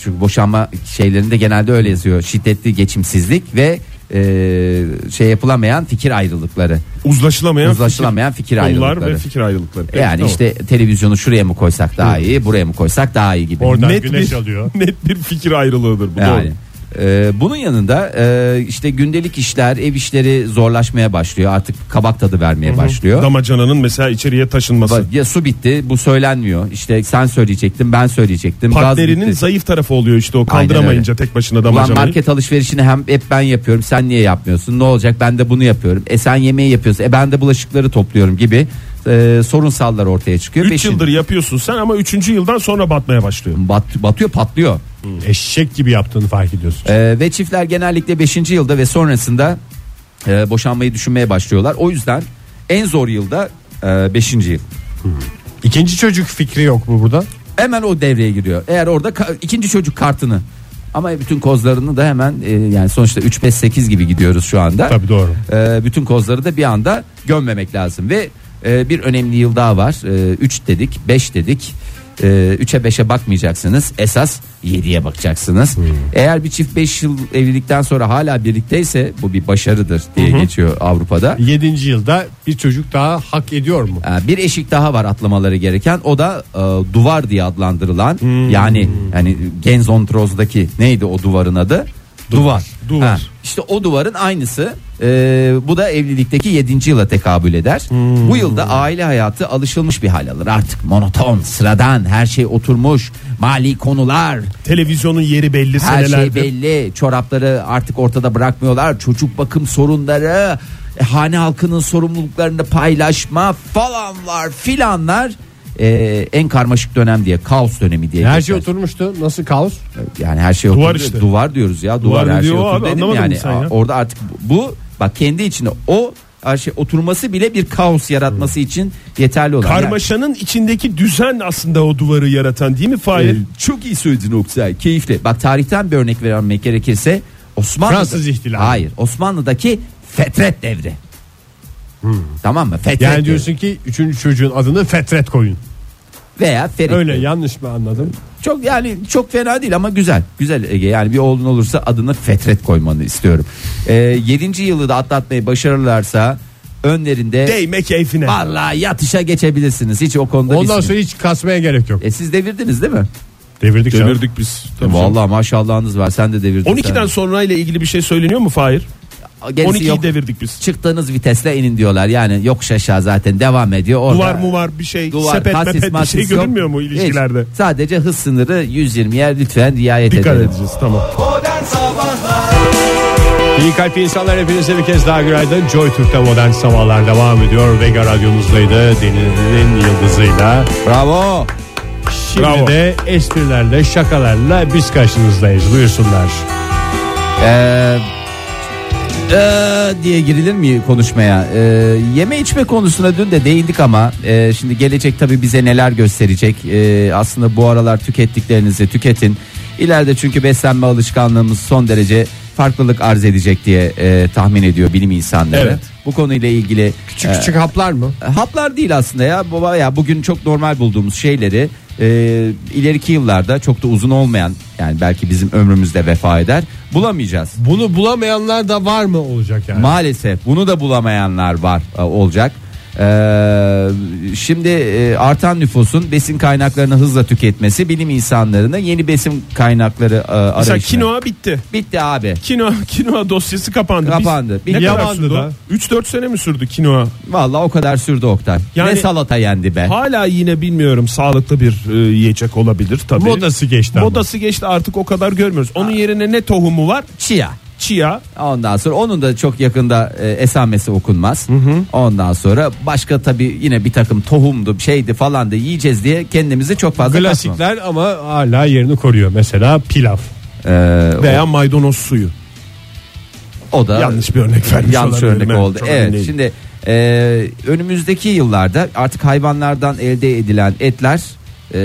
B: Çünkü boşanma şeylerinde genelde öyle yazıyor. Şiddetli geçimsizlik ve e, şey yapılamayan fikir ayrılıkları.
D: Uzlaşılamayan,
B: Uzlaşılamayan fikir
D: fikir, konular
B: ayrılıkları. E,
D: ve fikir ayrılıkları. Peki,
B: yani
D: tamam.
B: işte televizyonu şuraya mı koysak daha iyi, buraya mı koysak daha iyi gibi.
C: Oradan
D: Net
C: güneş
D: bir-
C: alıyor.
D: net bir fikir ayrılığıdır bu.
B: Yani.
D: doğru.
B: Ee, bunun yanında e, işte gündelik işler, ev işleri zorlaşmaya başlıyor. Artık kabak tadı vermeye başlıyor.
D: Damacananın mesela içeriye taşınması.
B: Ba- Ya su bitti, bu söylenmiyor. İşte sen söyleyecektin, ben söyleyecektim. Gaz
D: Partnerinin
B: bitti.
D: zayıf tarafı oluyor işte o
B: Aynen
D: kaldıramayınca tek başına
B: Ulan
D: damacanayı.
B: market alışverişini hem hep ben yapıyorum. Sen niye yapmıyorsun? Ne olacak? Ben de bunu yapıyorum. E sen yemeği yapıyorsun. E ben de bulaşıkları topluyorum gibi e, sorunsallar ortaya çıkıyor.
D: 3
B: Beşin-
D: yıldır yapıyorsun sen ama 3. yıldan sonra batmaya başlıyor.
B: Bat- batıyor, patlıyor.
C: Eşek gibi yaptığını fark ediyorsun.
B: Ee, ve çiftler genellikle 5. yılda ve sonrasında e, boşanmayı düşünmeye başlıyorlar. O yüzden en zor yılda 5. yıl.
C: İkinci çocuk fikri yok mu burada?
B: Hemen o devreye giriyor. Eğer orada ka- ikinci çocuk kartını ama bütün kozlarını da hemen e, yani sonuçta 3 5 8 gibi gidiyoruz şu anda.
C: Tabii doğru.
B: E, bütün kozları da bir anda gömmemek lazım ve e, bir önemli yıl daha var. 3 dedik, 5 dedik. 3'e 5'e bakmayacaksınız. Esas 7'ye bakacaksınız. Eğer bir çift 5 yıl evlilikten sonra hala birlikteyse bu bir başarıdır diye geçiyor Avrupa'da.
C: Yedinci yılda bir çocuk daha hak ediyor mu?
B: E, Bir eşik daha var atlamaları gereken. O da e, duvar diye adlandırılan yani yani Genzontroz'daki neydi o duvarın adı? Duvar.
D: Duvar.
B: Ha, işte o duvarın aynısı. e, bu da evlilikteki 7. yıla tekabül eder. Bu yılda aile hayatı alışılmış bir hal alır. Artık monoton, sıradan, her şey oturmuş, mali konular,
D: Televizyonun yeri belli
B: her şey
D: senelerdir.
B: belli. Çorapları artık ortada bırakmıyorlar. Çocuk bakım sorunları, e, hane halkının sorumluluklarını paylaşma falanlar filanlar. E, en karmaşık dönem diye, kaos dönemi diye.
C: Her
B: geçer.
C: şey oturmuştu. Nasıl kaos?
B: Yani her şey
D: Duvar
B: oturdu.
D: işte.
B: Duvar diyoruz ya. Duvar,
D: Duvar
B: her şey
D: diyor abi,
B: oturdu dedim
D: anlamadın
B: yani.
D: mı sen ya?
B: Orada artık bu bak kendi içinde o her şey oturması bile bir kaos yaratması için yeterli olan. Yani-
D: Karmaşanın içindeki düzen aslında o duvarı yaratan değil mi Fahir?
B: Ee, çok iyi söyledin Oktay. Keyifli. Bak tarihten bir örnek vermek gerekirse Osmanlı
C: Fransız ihtilali.
B: Hayır. Osmanlı'daki fetret devri. Tamam mı? Fetret
C: Yani
B: devri.
C: diyorsun ki üçüncü çocuğun adını Fetret koyun.
B: veya ferit.
C: Öyle
B: devri.
C: yanlış mı anladım?
B: Çok yani çok fena değil ama güzel. Güzel Ege. Yani bir oğlun olursa adını fetret koymanı istiyorum. Ee, 7. yılı da atlatmayı başarırlarsa önlerinde
D: Değme keyfine.
B: vallahi yatışa geçebilirsiniz. Hiç o konuda
C: Ondan
B: bir-
C: sonra hiç kasmaya gerek yok.
B: E siz devirdiniz değil mi?
C: Devirdik canım.
D: Devirdik biz.
B: E, Vallahi maşallahınız var. Sen de devirdin.
D: 12'den sonra ile ilgili bir şey söyleniyor mu Fahir?
B: Sen- Gerisi
D: 12'yi
B: yok.
D: devirdik biz.
B: çıktığınız vitesle inin diyorlar. Yani yokuş aşağı zaten devam ediyor. Orada
D: Duvar mu var bir şey,
B: duvar,
D: sepet
B: tahsis,
D: mepet bir şey
B: mahsis yok.
D: görünmüyor mu ilişkilerde?
B: Hiç. Sadece hız sınırı 120'ye lütfen riayet
D: Dikkat
B: edelim.
D: edeceğiz tamam.
C: İyi kalp insanlar hepinize bir kez daha günaydın. Joy Türk'te modern sabahlar devam ediyor. Vega radyonuzdaydı. Deniz'in yıldızıyla.
B: Bravo.
C: Şimdi
D: Bravo.
C: de esprilerle, şakalarla biz karşınızdayız. Buyursunlar.
B: Ee, ee, diye girilir mi konuşmaya? Ee, yeme içme konusuna dün de değindik ama ee, şimdi gelecek tabii bize neler gösterecek. Ee, aslında bu aralar tükettiklerinizi tüketin. İleride çünkü beslenme alışkanlığımız son derece farklılık arz edecek diye ee, tahmin ediyor bilim insanları.
C: Evet.
B: Bu konuyla ilgili
C: Küçük
B: ee,
C: küçük haplar mı?
B: Haplar değil aslında ya baba ya bugün çok normal bulduğumuz şeyleri e, ileriki yıllarda çok da uzun olmayan yani belki bizim ömrümüzde vefa eder bulamayacağız.
C: Bunu bulamayanlar da var mı olacak yani?
B: Maalesef bunu da bulamayanlar var e, olacak. Ee, şimdi e, artan nüfusun besin kaynaklarını hızla tüketmesi bilim insanlarına yeni besin kaynakları e,
D: Mesela
B: arayışına.
D: kinoa bitti.
B: Bitti abi.
D: Kinoa, kinoa dosyası kapandı.
B: Kapandı.
D: Biz, ne kadar
C: Yamandı
D: sürdü?
C: da.
D: 3-4 sene mi sürdü kinoa?
B: Vallahi o kadar sürdü Oktay.
D: Yani-
B: ne salata yendi be.
D: Hala yine bilmiyorum sağlıklı bir e, yiyecek olabilir tabii.
C: Modası geçti ama.
D: Modası geçti artık o kadar görmüyoruz.
B: Ah.
D: Onun yerine ne tohumu var?
B: Chia.
D: Chia.
B: Ondan sonra onun da çok yakında e, esamesi okunmaz. Ondan sonra başka tabii yine bir takım tohumdu, şeydi falan da yiyeceğiz diye kendimizi çok fazla kasmam.
C: Klasikler ama hala yerini koruyor. Mesela pilav
B: Ee,
D: Veya maydanoz suyu.
B: o, o da
D: Yanlış bir örnek vermiş
B: yanlış
D: olabilirim.
B: örnek
D: Evet,
B: oldu.
D: çok emin
B: Evet
D: değilim.
B: şimdi e, önümüzdeki yıllarda artık hayvanlardan elde edilen etler e,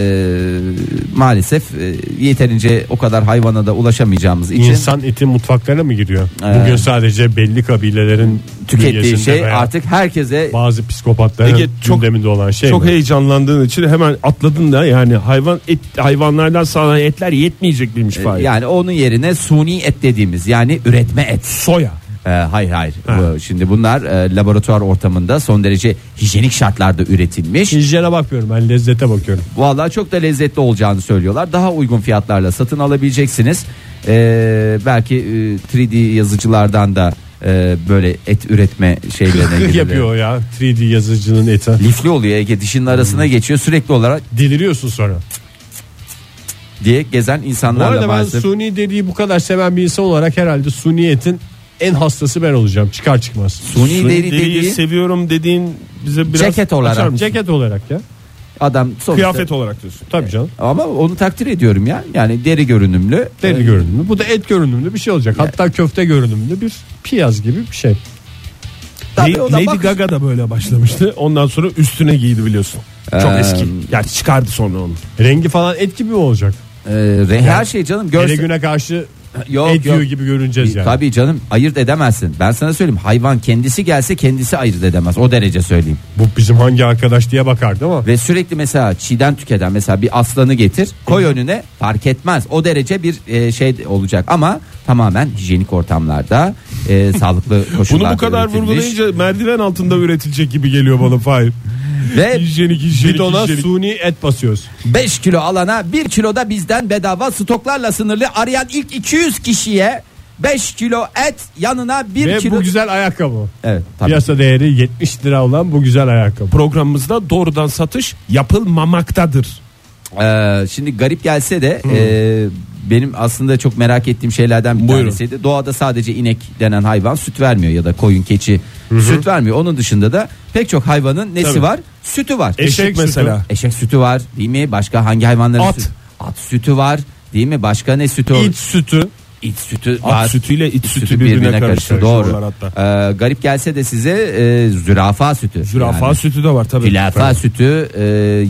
B: maalesef e, yeterince o kadar hayvana da ulaşamayacağımız için
C: insan eti mutfaklarına mı giriyor?
B: Ee,
C: Bugün sadece belli kabilelerin
B: tükettiği
C: bünyesinde
B: şey
C: veya
B: artık herkese
C: bazı psikopatların
D: Ege, çok-
C: gündeminde olan şey
D: Çok
C: mi?
D: heyecanlandığın için hemen atladın da yani hayvan et, hayvanlardan sağlanan etler yetmeyecek miymiş Fahir?
B: yani onun yerine suni et dediğimiz yani üretme et.
D: Soya.
B: Ee, hayır hayır. Bu- Şimdi bunlar e, laboratuvar ortamında son derece hijyenik şartlarda üretilmiş.
C: Hijyene bakmıyorum ben lezzete bakıyorum.
B: Vallahi çok da lezzetli olacağını söylüyorlar. Daha uygun fiyatlarla satın alabileceksiniz. Ee, belki e, 3D yazıcılardan da e, böyle et üretme şeylerine giriliyor.
C: yapıyor ya 3D yazıcının eti.
B: Lifli oluyor Ege dişinin
C: Hmm.
B: arasına geçiyor sürekli olarak
C: Deliriyorsun sonra.
B: diye gezen
C: Bu
B: insanlarla
C: arada ben
B: maalesef.
C: suni deriyi bu kadar seven bir insan olarak herhalde suni etin en hastası ben olacağım çıkar çıkmaz.
B: Suni deri
D: Deriyi
B: dediği
D: seviyorum dediğin bize biraz
B: Ceket olarak.
D: açar mısın?
C: Ceket olarak ya.
B: adam sonuçta
D: Kıyafet olarak diyorsun.
C: Tabii canım.
B: ama onu takdir ediyorum ya. Yani deri görünümlü.
C: Deri
B: Ee,
C: görünümlü. Bu da et görünümlü bir şey olacak. Hatta köfte görünümlü bir piyaz gibi bir şey.
B: tabii
D: Ne-
B: o da
D: Lady
B: bakış-
D: Gaga da böyle başlamıştı. Ondan sonra üstüne giydi biliyorsun. Çok
B: Ee,
D: eski. Yani çıkardı sonra onu.
C: Rengi falan et gibi mi olacak?
B: Ee, re- her şey canım
C: Hele
B: görsel.
C: güne karşı
B: Yok,
C: et yiyor
B: yok.
C: gibi görüneceğiz yani.
B: Tabii canım ayırt edemezsin. Ben sana söyleyeyim hayvan kendisi gelse kendisi ayırt edemez. O derece söyleyeyim.
C: Bu bizim hangi arkadaş diye bakardı ama.
B: Ve sürekli mesela çiğden tüketen mesela bir aslanı getir koy önüne fark etmez. O derece bir e, şey olacak ama tamamen hijyenik ortamlarda e, sağlıklı koşullarda
D: Bunu bu kadar
B: üretilmiş.
D: vurgulayınca merdiven altında üretilecek gibi geliyor bana Fahir.
B: Ve
D: Hijyenik hijyenik
C: Bidona
D: hijyenik.
C: suni et basıyoruz.
B: 5 kilo alana 1 kilo da bizden bedava stoklarla sınırlı arayan ilk 200 kişiye 5 kilo et yanına 1
C: Ve
B: kilo...
C: bu güzel ayakkabı.
B: Evet tabii.
C: Piyasa değeri 70 lira olan bu güzel ayakkabı.
D: Programımızda doğrudan satış yapılmamaktadır.
B: Ee, şimdi garip gelse de e, benim aslında çok merak ettiğim şeylerden bir
D: Buyurun.
B: tanesiydi. Doğada sadece inek denen hayvan süt vermiyor ya da koyun keçi süt vermiyor. Onun dışında da pek çok hayvanın nesi
D: Tabii.
B: var? Sütü var.
D: Eşek,
C: Eşek
D: mesela.
B: Eşek sütü var değil mi? Başka hangi hayvanların
C: At.
B: sütü? At sütü var değil mi? Başka ne sütü?
C: İç sütü.
B: İç sütü
D: At
B: var.
D: sütüyle iç
B: İç
D: sütü birbirine karışıyor. Şunlar
B: Doğru.
D: hatta.
B: Ee, garip gelse de size e, zürafa sütü.
D: Zürafa
B: Yani
D: sütü de var tabii.
B: Zürafa sütü e,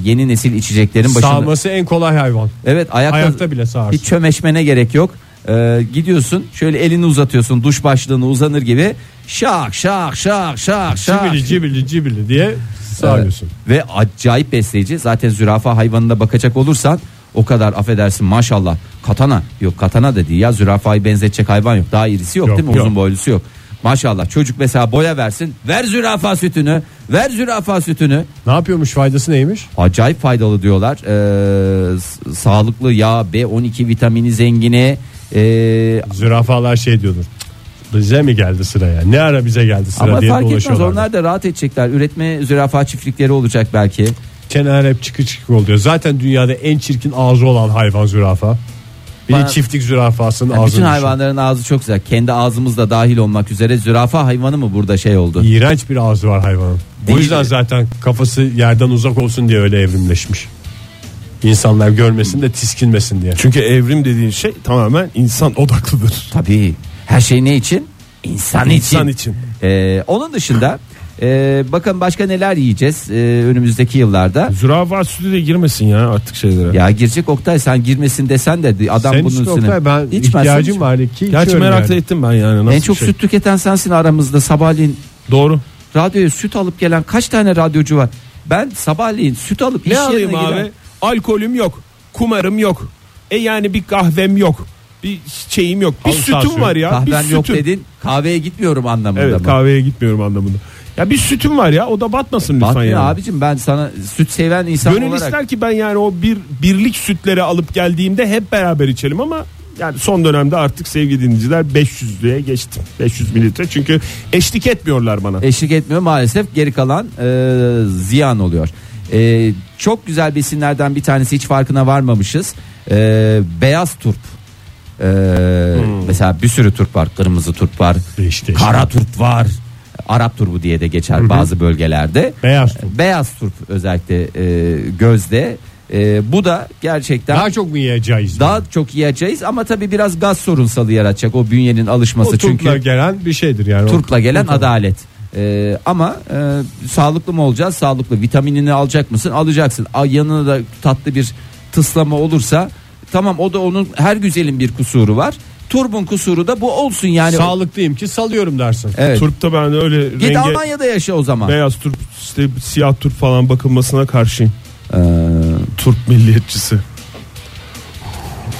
B: yeni nesil içeceklerin başında.
C: Sağması en kolay hayvan.
B: Evet ayakta,
C: Ayakta bile sağarsın.
B: Hiç çömeşmene gerek yok. Ee, gidiyorsun şöyle elini uzatıyorsun duş başlığını uzanır gibi şak şak şak şak şak.
C: Cibili cibili cibili diye
B: Ee,
C: sağıyorsun.
B: ve acayip besleyici zaten zürafa hayvanına bakacak olursan o kadar affedersin maşallah katana yok katana da değil ya zürafayı benzetecek hayvan yok daha irisi yok,
C: Yok,
B: değil mi
C: yok.
B: uzun boylusu yok. Maşallah çocuk mesela boya versin ver zürafa sütünü ver zürafa sütünü
C: Ne yapıyormuş faydası neymiş?
B: acayip faydalı diyorlar. Ee, s- sağlıklı yağ, B12 vitamini zengini. Ee,
C: Zürafalar şey diyordur. Bize mi geldi sıra ya? Ne ara bize geldi sıra
B: ama
C: diye
B: fark etmez
C: dolaşıyorlar.
B: onlar da rahat edecekler. Üretme zürafa çiftlikleri olacak belki.
C: Kenar hep çıkı çıkı oluyor. Zaten dünyada en çirkin ağzı olan hayvan zürafa. Bir de
B: Bana-
C: çiftlik zürafasının
B: Yani
C: ağzı.
B: bütün hayvanların ağzı çok güzel. Kendi ağzımız da dahil olmak üzere zürafa hayvanı mı burada şey oldu?
C: İğrenç bir ağzı var hayvanın.
B: Değil
C: O yüzden
B: mi?
C: zaten kafası yerden uzak olsun diye öyle evrimleşmiş. İnsanlar görmesin de tiskinmesin diye.
D: Çünkü evrim dediğin şey tamamen insan odaklıdır.
B: Tabii. Her şey ne için? İnsan için.
D: İnsan için.
B: Ee, onun dışında e, bakın başka neler yiyeceğiz e, önümüzdeki yıllarda.
D: Zürafa sütü de girmesin ya artık şeylere.
B: Ya girecek Oktay sen girmesin desen de adam
C: Senin
B: bunun
C: için
B: üstüne.
C: Oktay, ben
B: İçmezsen
C: ihtiyacım
B: içme.
C: var ki
D: Gerçi
C: içiyorum
D: merak
C: yani.
D: ettim ben yani nasıl
B: en çok
D: bir şey.
B: süt tüketen sensin aramızda sabahleyin
D: Doğru.
B: radyoya süt alıp gelen kaç tane radyocu var? Ben sabahleyin süt alıp iş
D: Ne alayım
B: yerine
D: abi?
B: giden-
D: Alkolüm yok. Kumarım yok. E yani bir kahvem yok. Bir şeyim yok. Bir
C: Halı saha
D: sütüm
C: suyu.
D: var ya. bir
B: Kahven yok
D: sütüm.
B: dedin kahveye gitmiyorum anlamında
D: Evet
B: mı?
D: kahveye gitmiyorum anlamında. Ya bir sütüm var ya o da batmasın lütfen
B: Batmıyor
D: yani.
B: abicim ben sana süt seven insan
D: Gönül
B: olarak
D: ister ki ben yani o bir birlik sütleri alıp geldiğimde hep beraber içelim ama yani son dönemde artık sevgili dinleyiciler 500'lüğe geçtim. 500 mililitre çünkü eşlik etmiyorlar bana.
B: eşlik etmiyor maalesef geri kalan e, ziyan oluyor. E, çok güzel besinlerden bir tanesi hiç farkına varmamışız. E, beyaz turp. E, Mesela bir sürü turp var. Kırmızı turp var.
C: Hmm. Değişik değişik.
B: Kara turp var. Arap turbu diye de geçer bazı bölgelerde. E,
C: Beyaz turp.
B: Beyaz turp özellikle e, gözde. E, bu da gerçekten
C: Daha çok mu yiyeceğiz?
B: daha çok yiyeceğiz ama tabii biraz gaz sorunsalı yaratacak o bünyenin alışması
C: o
B: çünkü
C: turpla gelen bir şeydir yani.
B: turpla gelen adalet. Ee, ama e, sağlıklı mı olacağız? Sağlıklı. Vitaminini alacak mısın? Alacaksın. A, yanına da tatlı bir tıslama olursa tamam o da onun her güzelin bir kusuru var. Turbun kusuru da bu olsun yani.
C: Sağlıklıyım ki salıyorum dersin.
B: evet.
D: Turpta ben öyle
B: Git
D: renge
B: Almanya'da yaşa o zaman.
D: beyaz turp işte siyah turp falan bakılmasına karşıyım.
B: Ee,
D: Turp milliyetçisi.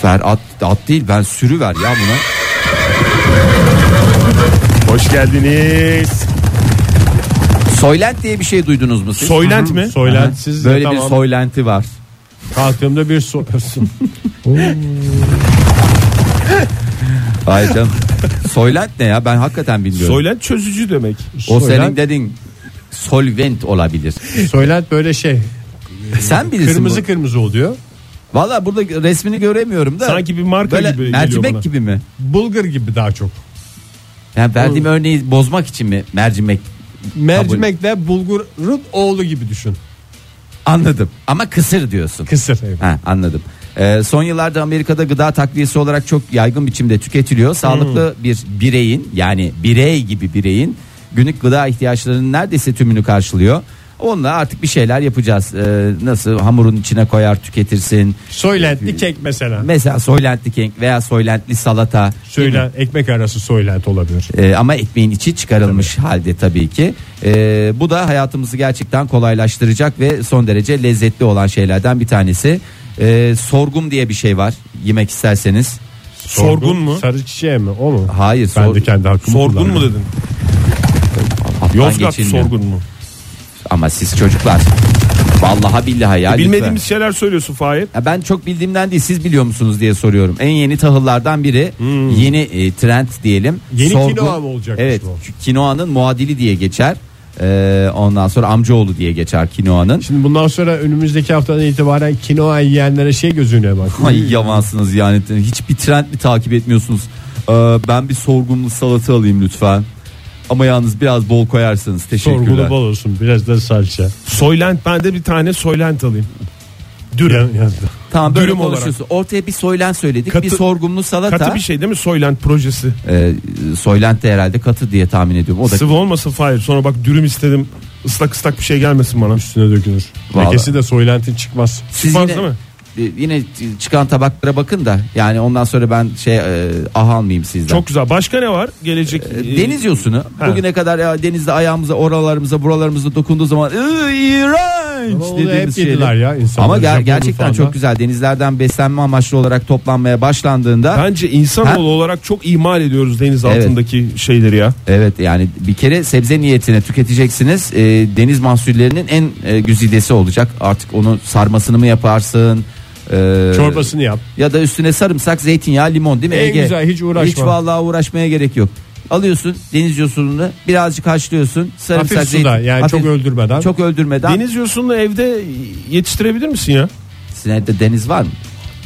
B: ver at, at değil ben sürü ver ya buna.
D: Hoş geldiniz.
B: Soylent diye bir şey duydunuz mu siz?
D: Soylent mi?
C: Söylensiz
B: Böyle bir
C: tamam.
B: soylenti var.
C: Kalktığımda bir soruyorsun.
B: Ay canım. soylent ne ya? Ben hakikaten bilmiyorum.
D: Soylent çözücü demek.
B: o
C: Soylent-
B: senin dedin solvent olabilir.
C: Söylent böyle şey.
B: Sen bilirsin
C: Kırmızı
B: bu.
C: kırmızı oluyor.
B: Valla burada resmini göremiyorum da.
D: Sanki bir marka
B: Böyle
D: gibi geliyor
B: mercimek
D: bana.
B: gibi mi?
C: Bulgur gibi daha çok.
B: Yani verdiğim örneği bozmak için mi mercimek?
C: Mercimekle bulgurun oğlu gibi düşün.
B: Anladım. Ama kısır diyorsun.
C: Kısır.
B: Ha, anladım. Ee, son yıllarda Amerika'da gıda takviyesi olarak çok yaygın biçimde tüketiliyor. Sağlıklı
D: Hmm.
B: bir bireyin yani birey gibi bireyin günlük gıda ihtiyaçlarının neredeyse tümünü karşılıyor. Onunla artık bir şeyler yapacağız. Ee, nasıl hamurun içine koyar tüketirsin.
C: Söylentli kek mesela.
B: Mesela soylentli kek veya soylentli salata.
C: Söylen, ekmek arası söylent olabilir.
B: Ee, ama ekmeğin içi çıkarılmış halde tabii ki. Ee, bu da hayatımızı gerçekten kolaylaştıracak ve son derece lezzetli olan şeylerden bir tanesi. Ee, sorgum diye bir şey var yemek isterseniz.
D: Sorgun mu?
C: Sarı çiçeğe mi o mu?
B: Hayır
C: Ben
B: sor-
C: de kendi hakkımı
D: Sorgun mu
C: kullanıyorum.
D: dedin?
B: Alttan
D: Yozgat
B: geçilmiyor.
D: sorgun mu?
B: Ama siz çocuklar vallahi billahi ya lütfen.
D: Bilmediğimiz şeyler söylüyorsun Fahir.
B: Ya ben çok bildiğimden değil siz biliyor musunuz diye soruyorum. En yeni tahıllardan biri yeni e, trend diyelim.
C: Hmm. Yeni kinoa mı olacakmış
B: Evet
C: bu?
B: kinoanın muadili diye geçer. Ee, ondan sonra amcaoğlu diye geçer kinoanın.
C: Şimdi bundan sonra önümüzdeki haftadan itibaren kinoa yiyenlere şey gözünüyor bak.
B: Ay yavansınız yani hiçbir trend mi takip etmiyorsunuz? Ee, ben bir sorgumlu salata alayım lütfen. Ama yalnız biraz bol koyarsanız teşekkürler.
C: Sorgulu bol olsun biraz da salça.
D: Soylent ben de bir tane soylent alayım.
C: Dürüm. yazdı.
B: Tamam böyle
D: Dürüm olarak.
B: konuşuyorsun. Ortaya bir soylen söyledik.
D: Katı-
B: bir sorgumlu salata.
D: Katı bir şey değil mi soylent projesi?
B: Ee, soylent de herhalde katı diye tahmin ediyorum. O da
D: Sıvı olmasın Fahir. Sonra bak dürüm istedim. Islak ıslak bir şey gelmesin bana.
C: Üstüne dökülür.
B: Vallahi.
C: Lekesi de soylentin çıkmaz.
B: Siz
D: Çıkmaz
B: yine,
D: değil mi?
B: e, yine çıkan tabaklara bakın da yani ondan sonra ben şey e, ah almayayım sizden.
D: Çok güzel. Başka ne var? Gelecek
B: E, Deniz yosunu
D: Ha.
B: bugüne kadar ya denizde ayağımıza oralarımıza buralarımıza dokunduğu zaman "Iı,
C: Ama
B: iğrenç
C: onu
B: dediğimiz
C: hep yediler
B: şeyler.
C: ya insanlar.
B: Ama ger-
C: Japonlu
B: gerçekten
C: falan da.
B: çok güzel denizlerden beslenme amaçlı olarak toplanmaya başlandığında
D: Bence insanoğlu olarak çok ihmal ediyoruz deniz
B: Evet.
D: altındaki şeyleri ya.
B: evet yani bir kere sebze niyetine tüketeceksiniz E, deniz mahsullerinin en e, güzidesi olacak artık onu sarmasını mı yaparsın E,
C: Çorbasını yap.
B: ya da üstüne sarımsak zeytinyağı limon değil mi
C: En
B: Ege?
C: güzel, hiç uğraşma.
B: Hiç vallahi uğraşmaya gerek yok. Alıyorsun deniz yosununu birazcık haşlıyorsun sarımsak
C: Hafif
B: zeytin.
C: suda yani
B: hafif-
C: çok öldürmeden.
B: çok öldürmeden.
D: Deniz yosununu evde yetiştirebilir misin ya?
B: Sizin evde deniz var mı?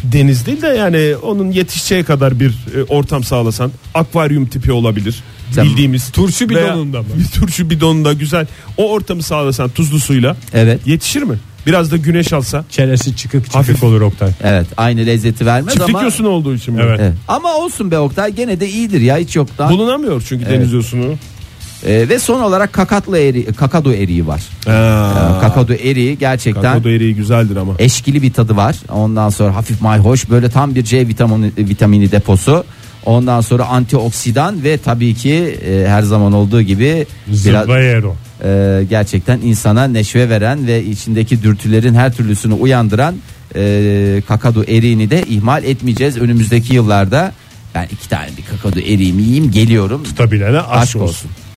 D: Deniz değil de yani onun yetişeceği kadar bir e, ortam sağlasan. Akvaryum tipi olabilir.
B: Sen-
D: Bildiğimiz. Turşu
C: bidonunda mı?
D: Bir turşu bidonunda güzel. O ortamı sağlasan tuzlu suyla.
B: Evet.
D: Yetişir mi? Biraz da güneş alsa.
C: Çenesi çıkık çıkık
D: Hafif.
C: olur Oktay.
B: Evet aynı lezzeti vermez
D: Çiftlik
B: ama.
D: yosunu olduğu için mi?
C: Evet.
B: Evet. Ama olsun be Oktay gene de iyidir ya hiç yoktan.
D: Bulunamıyor çünkü deniz yosunu.
B: Ee, ve son olarak kakatlı eri, kakadu eriği var. Ee, kakadu eriği gerçekten
D: Kakao eriği güzeldir ama.
B: eşkili bir tadı var. Ondan sonra hafif mayhoş böyle tam bir C vitamini, vitamini deposu. Ondan sonra antioksidan ve tabii ki e, her zaman olduğu gibi biraz
C: Zıbayero.
B: e, gerçekten insana neşve veren ve içindeki dürtülerin her türlüsünü uyandıran e, kakadu eriğini de ihmal etmeyeceğiz önümüzdeki yıllarda. Ben iki tane bir kakadu eriğimi yiyeyim geliyorum.
C: Tutabilene aşk,
B: Aşk
C: olsun.
B: olsun.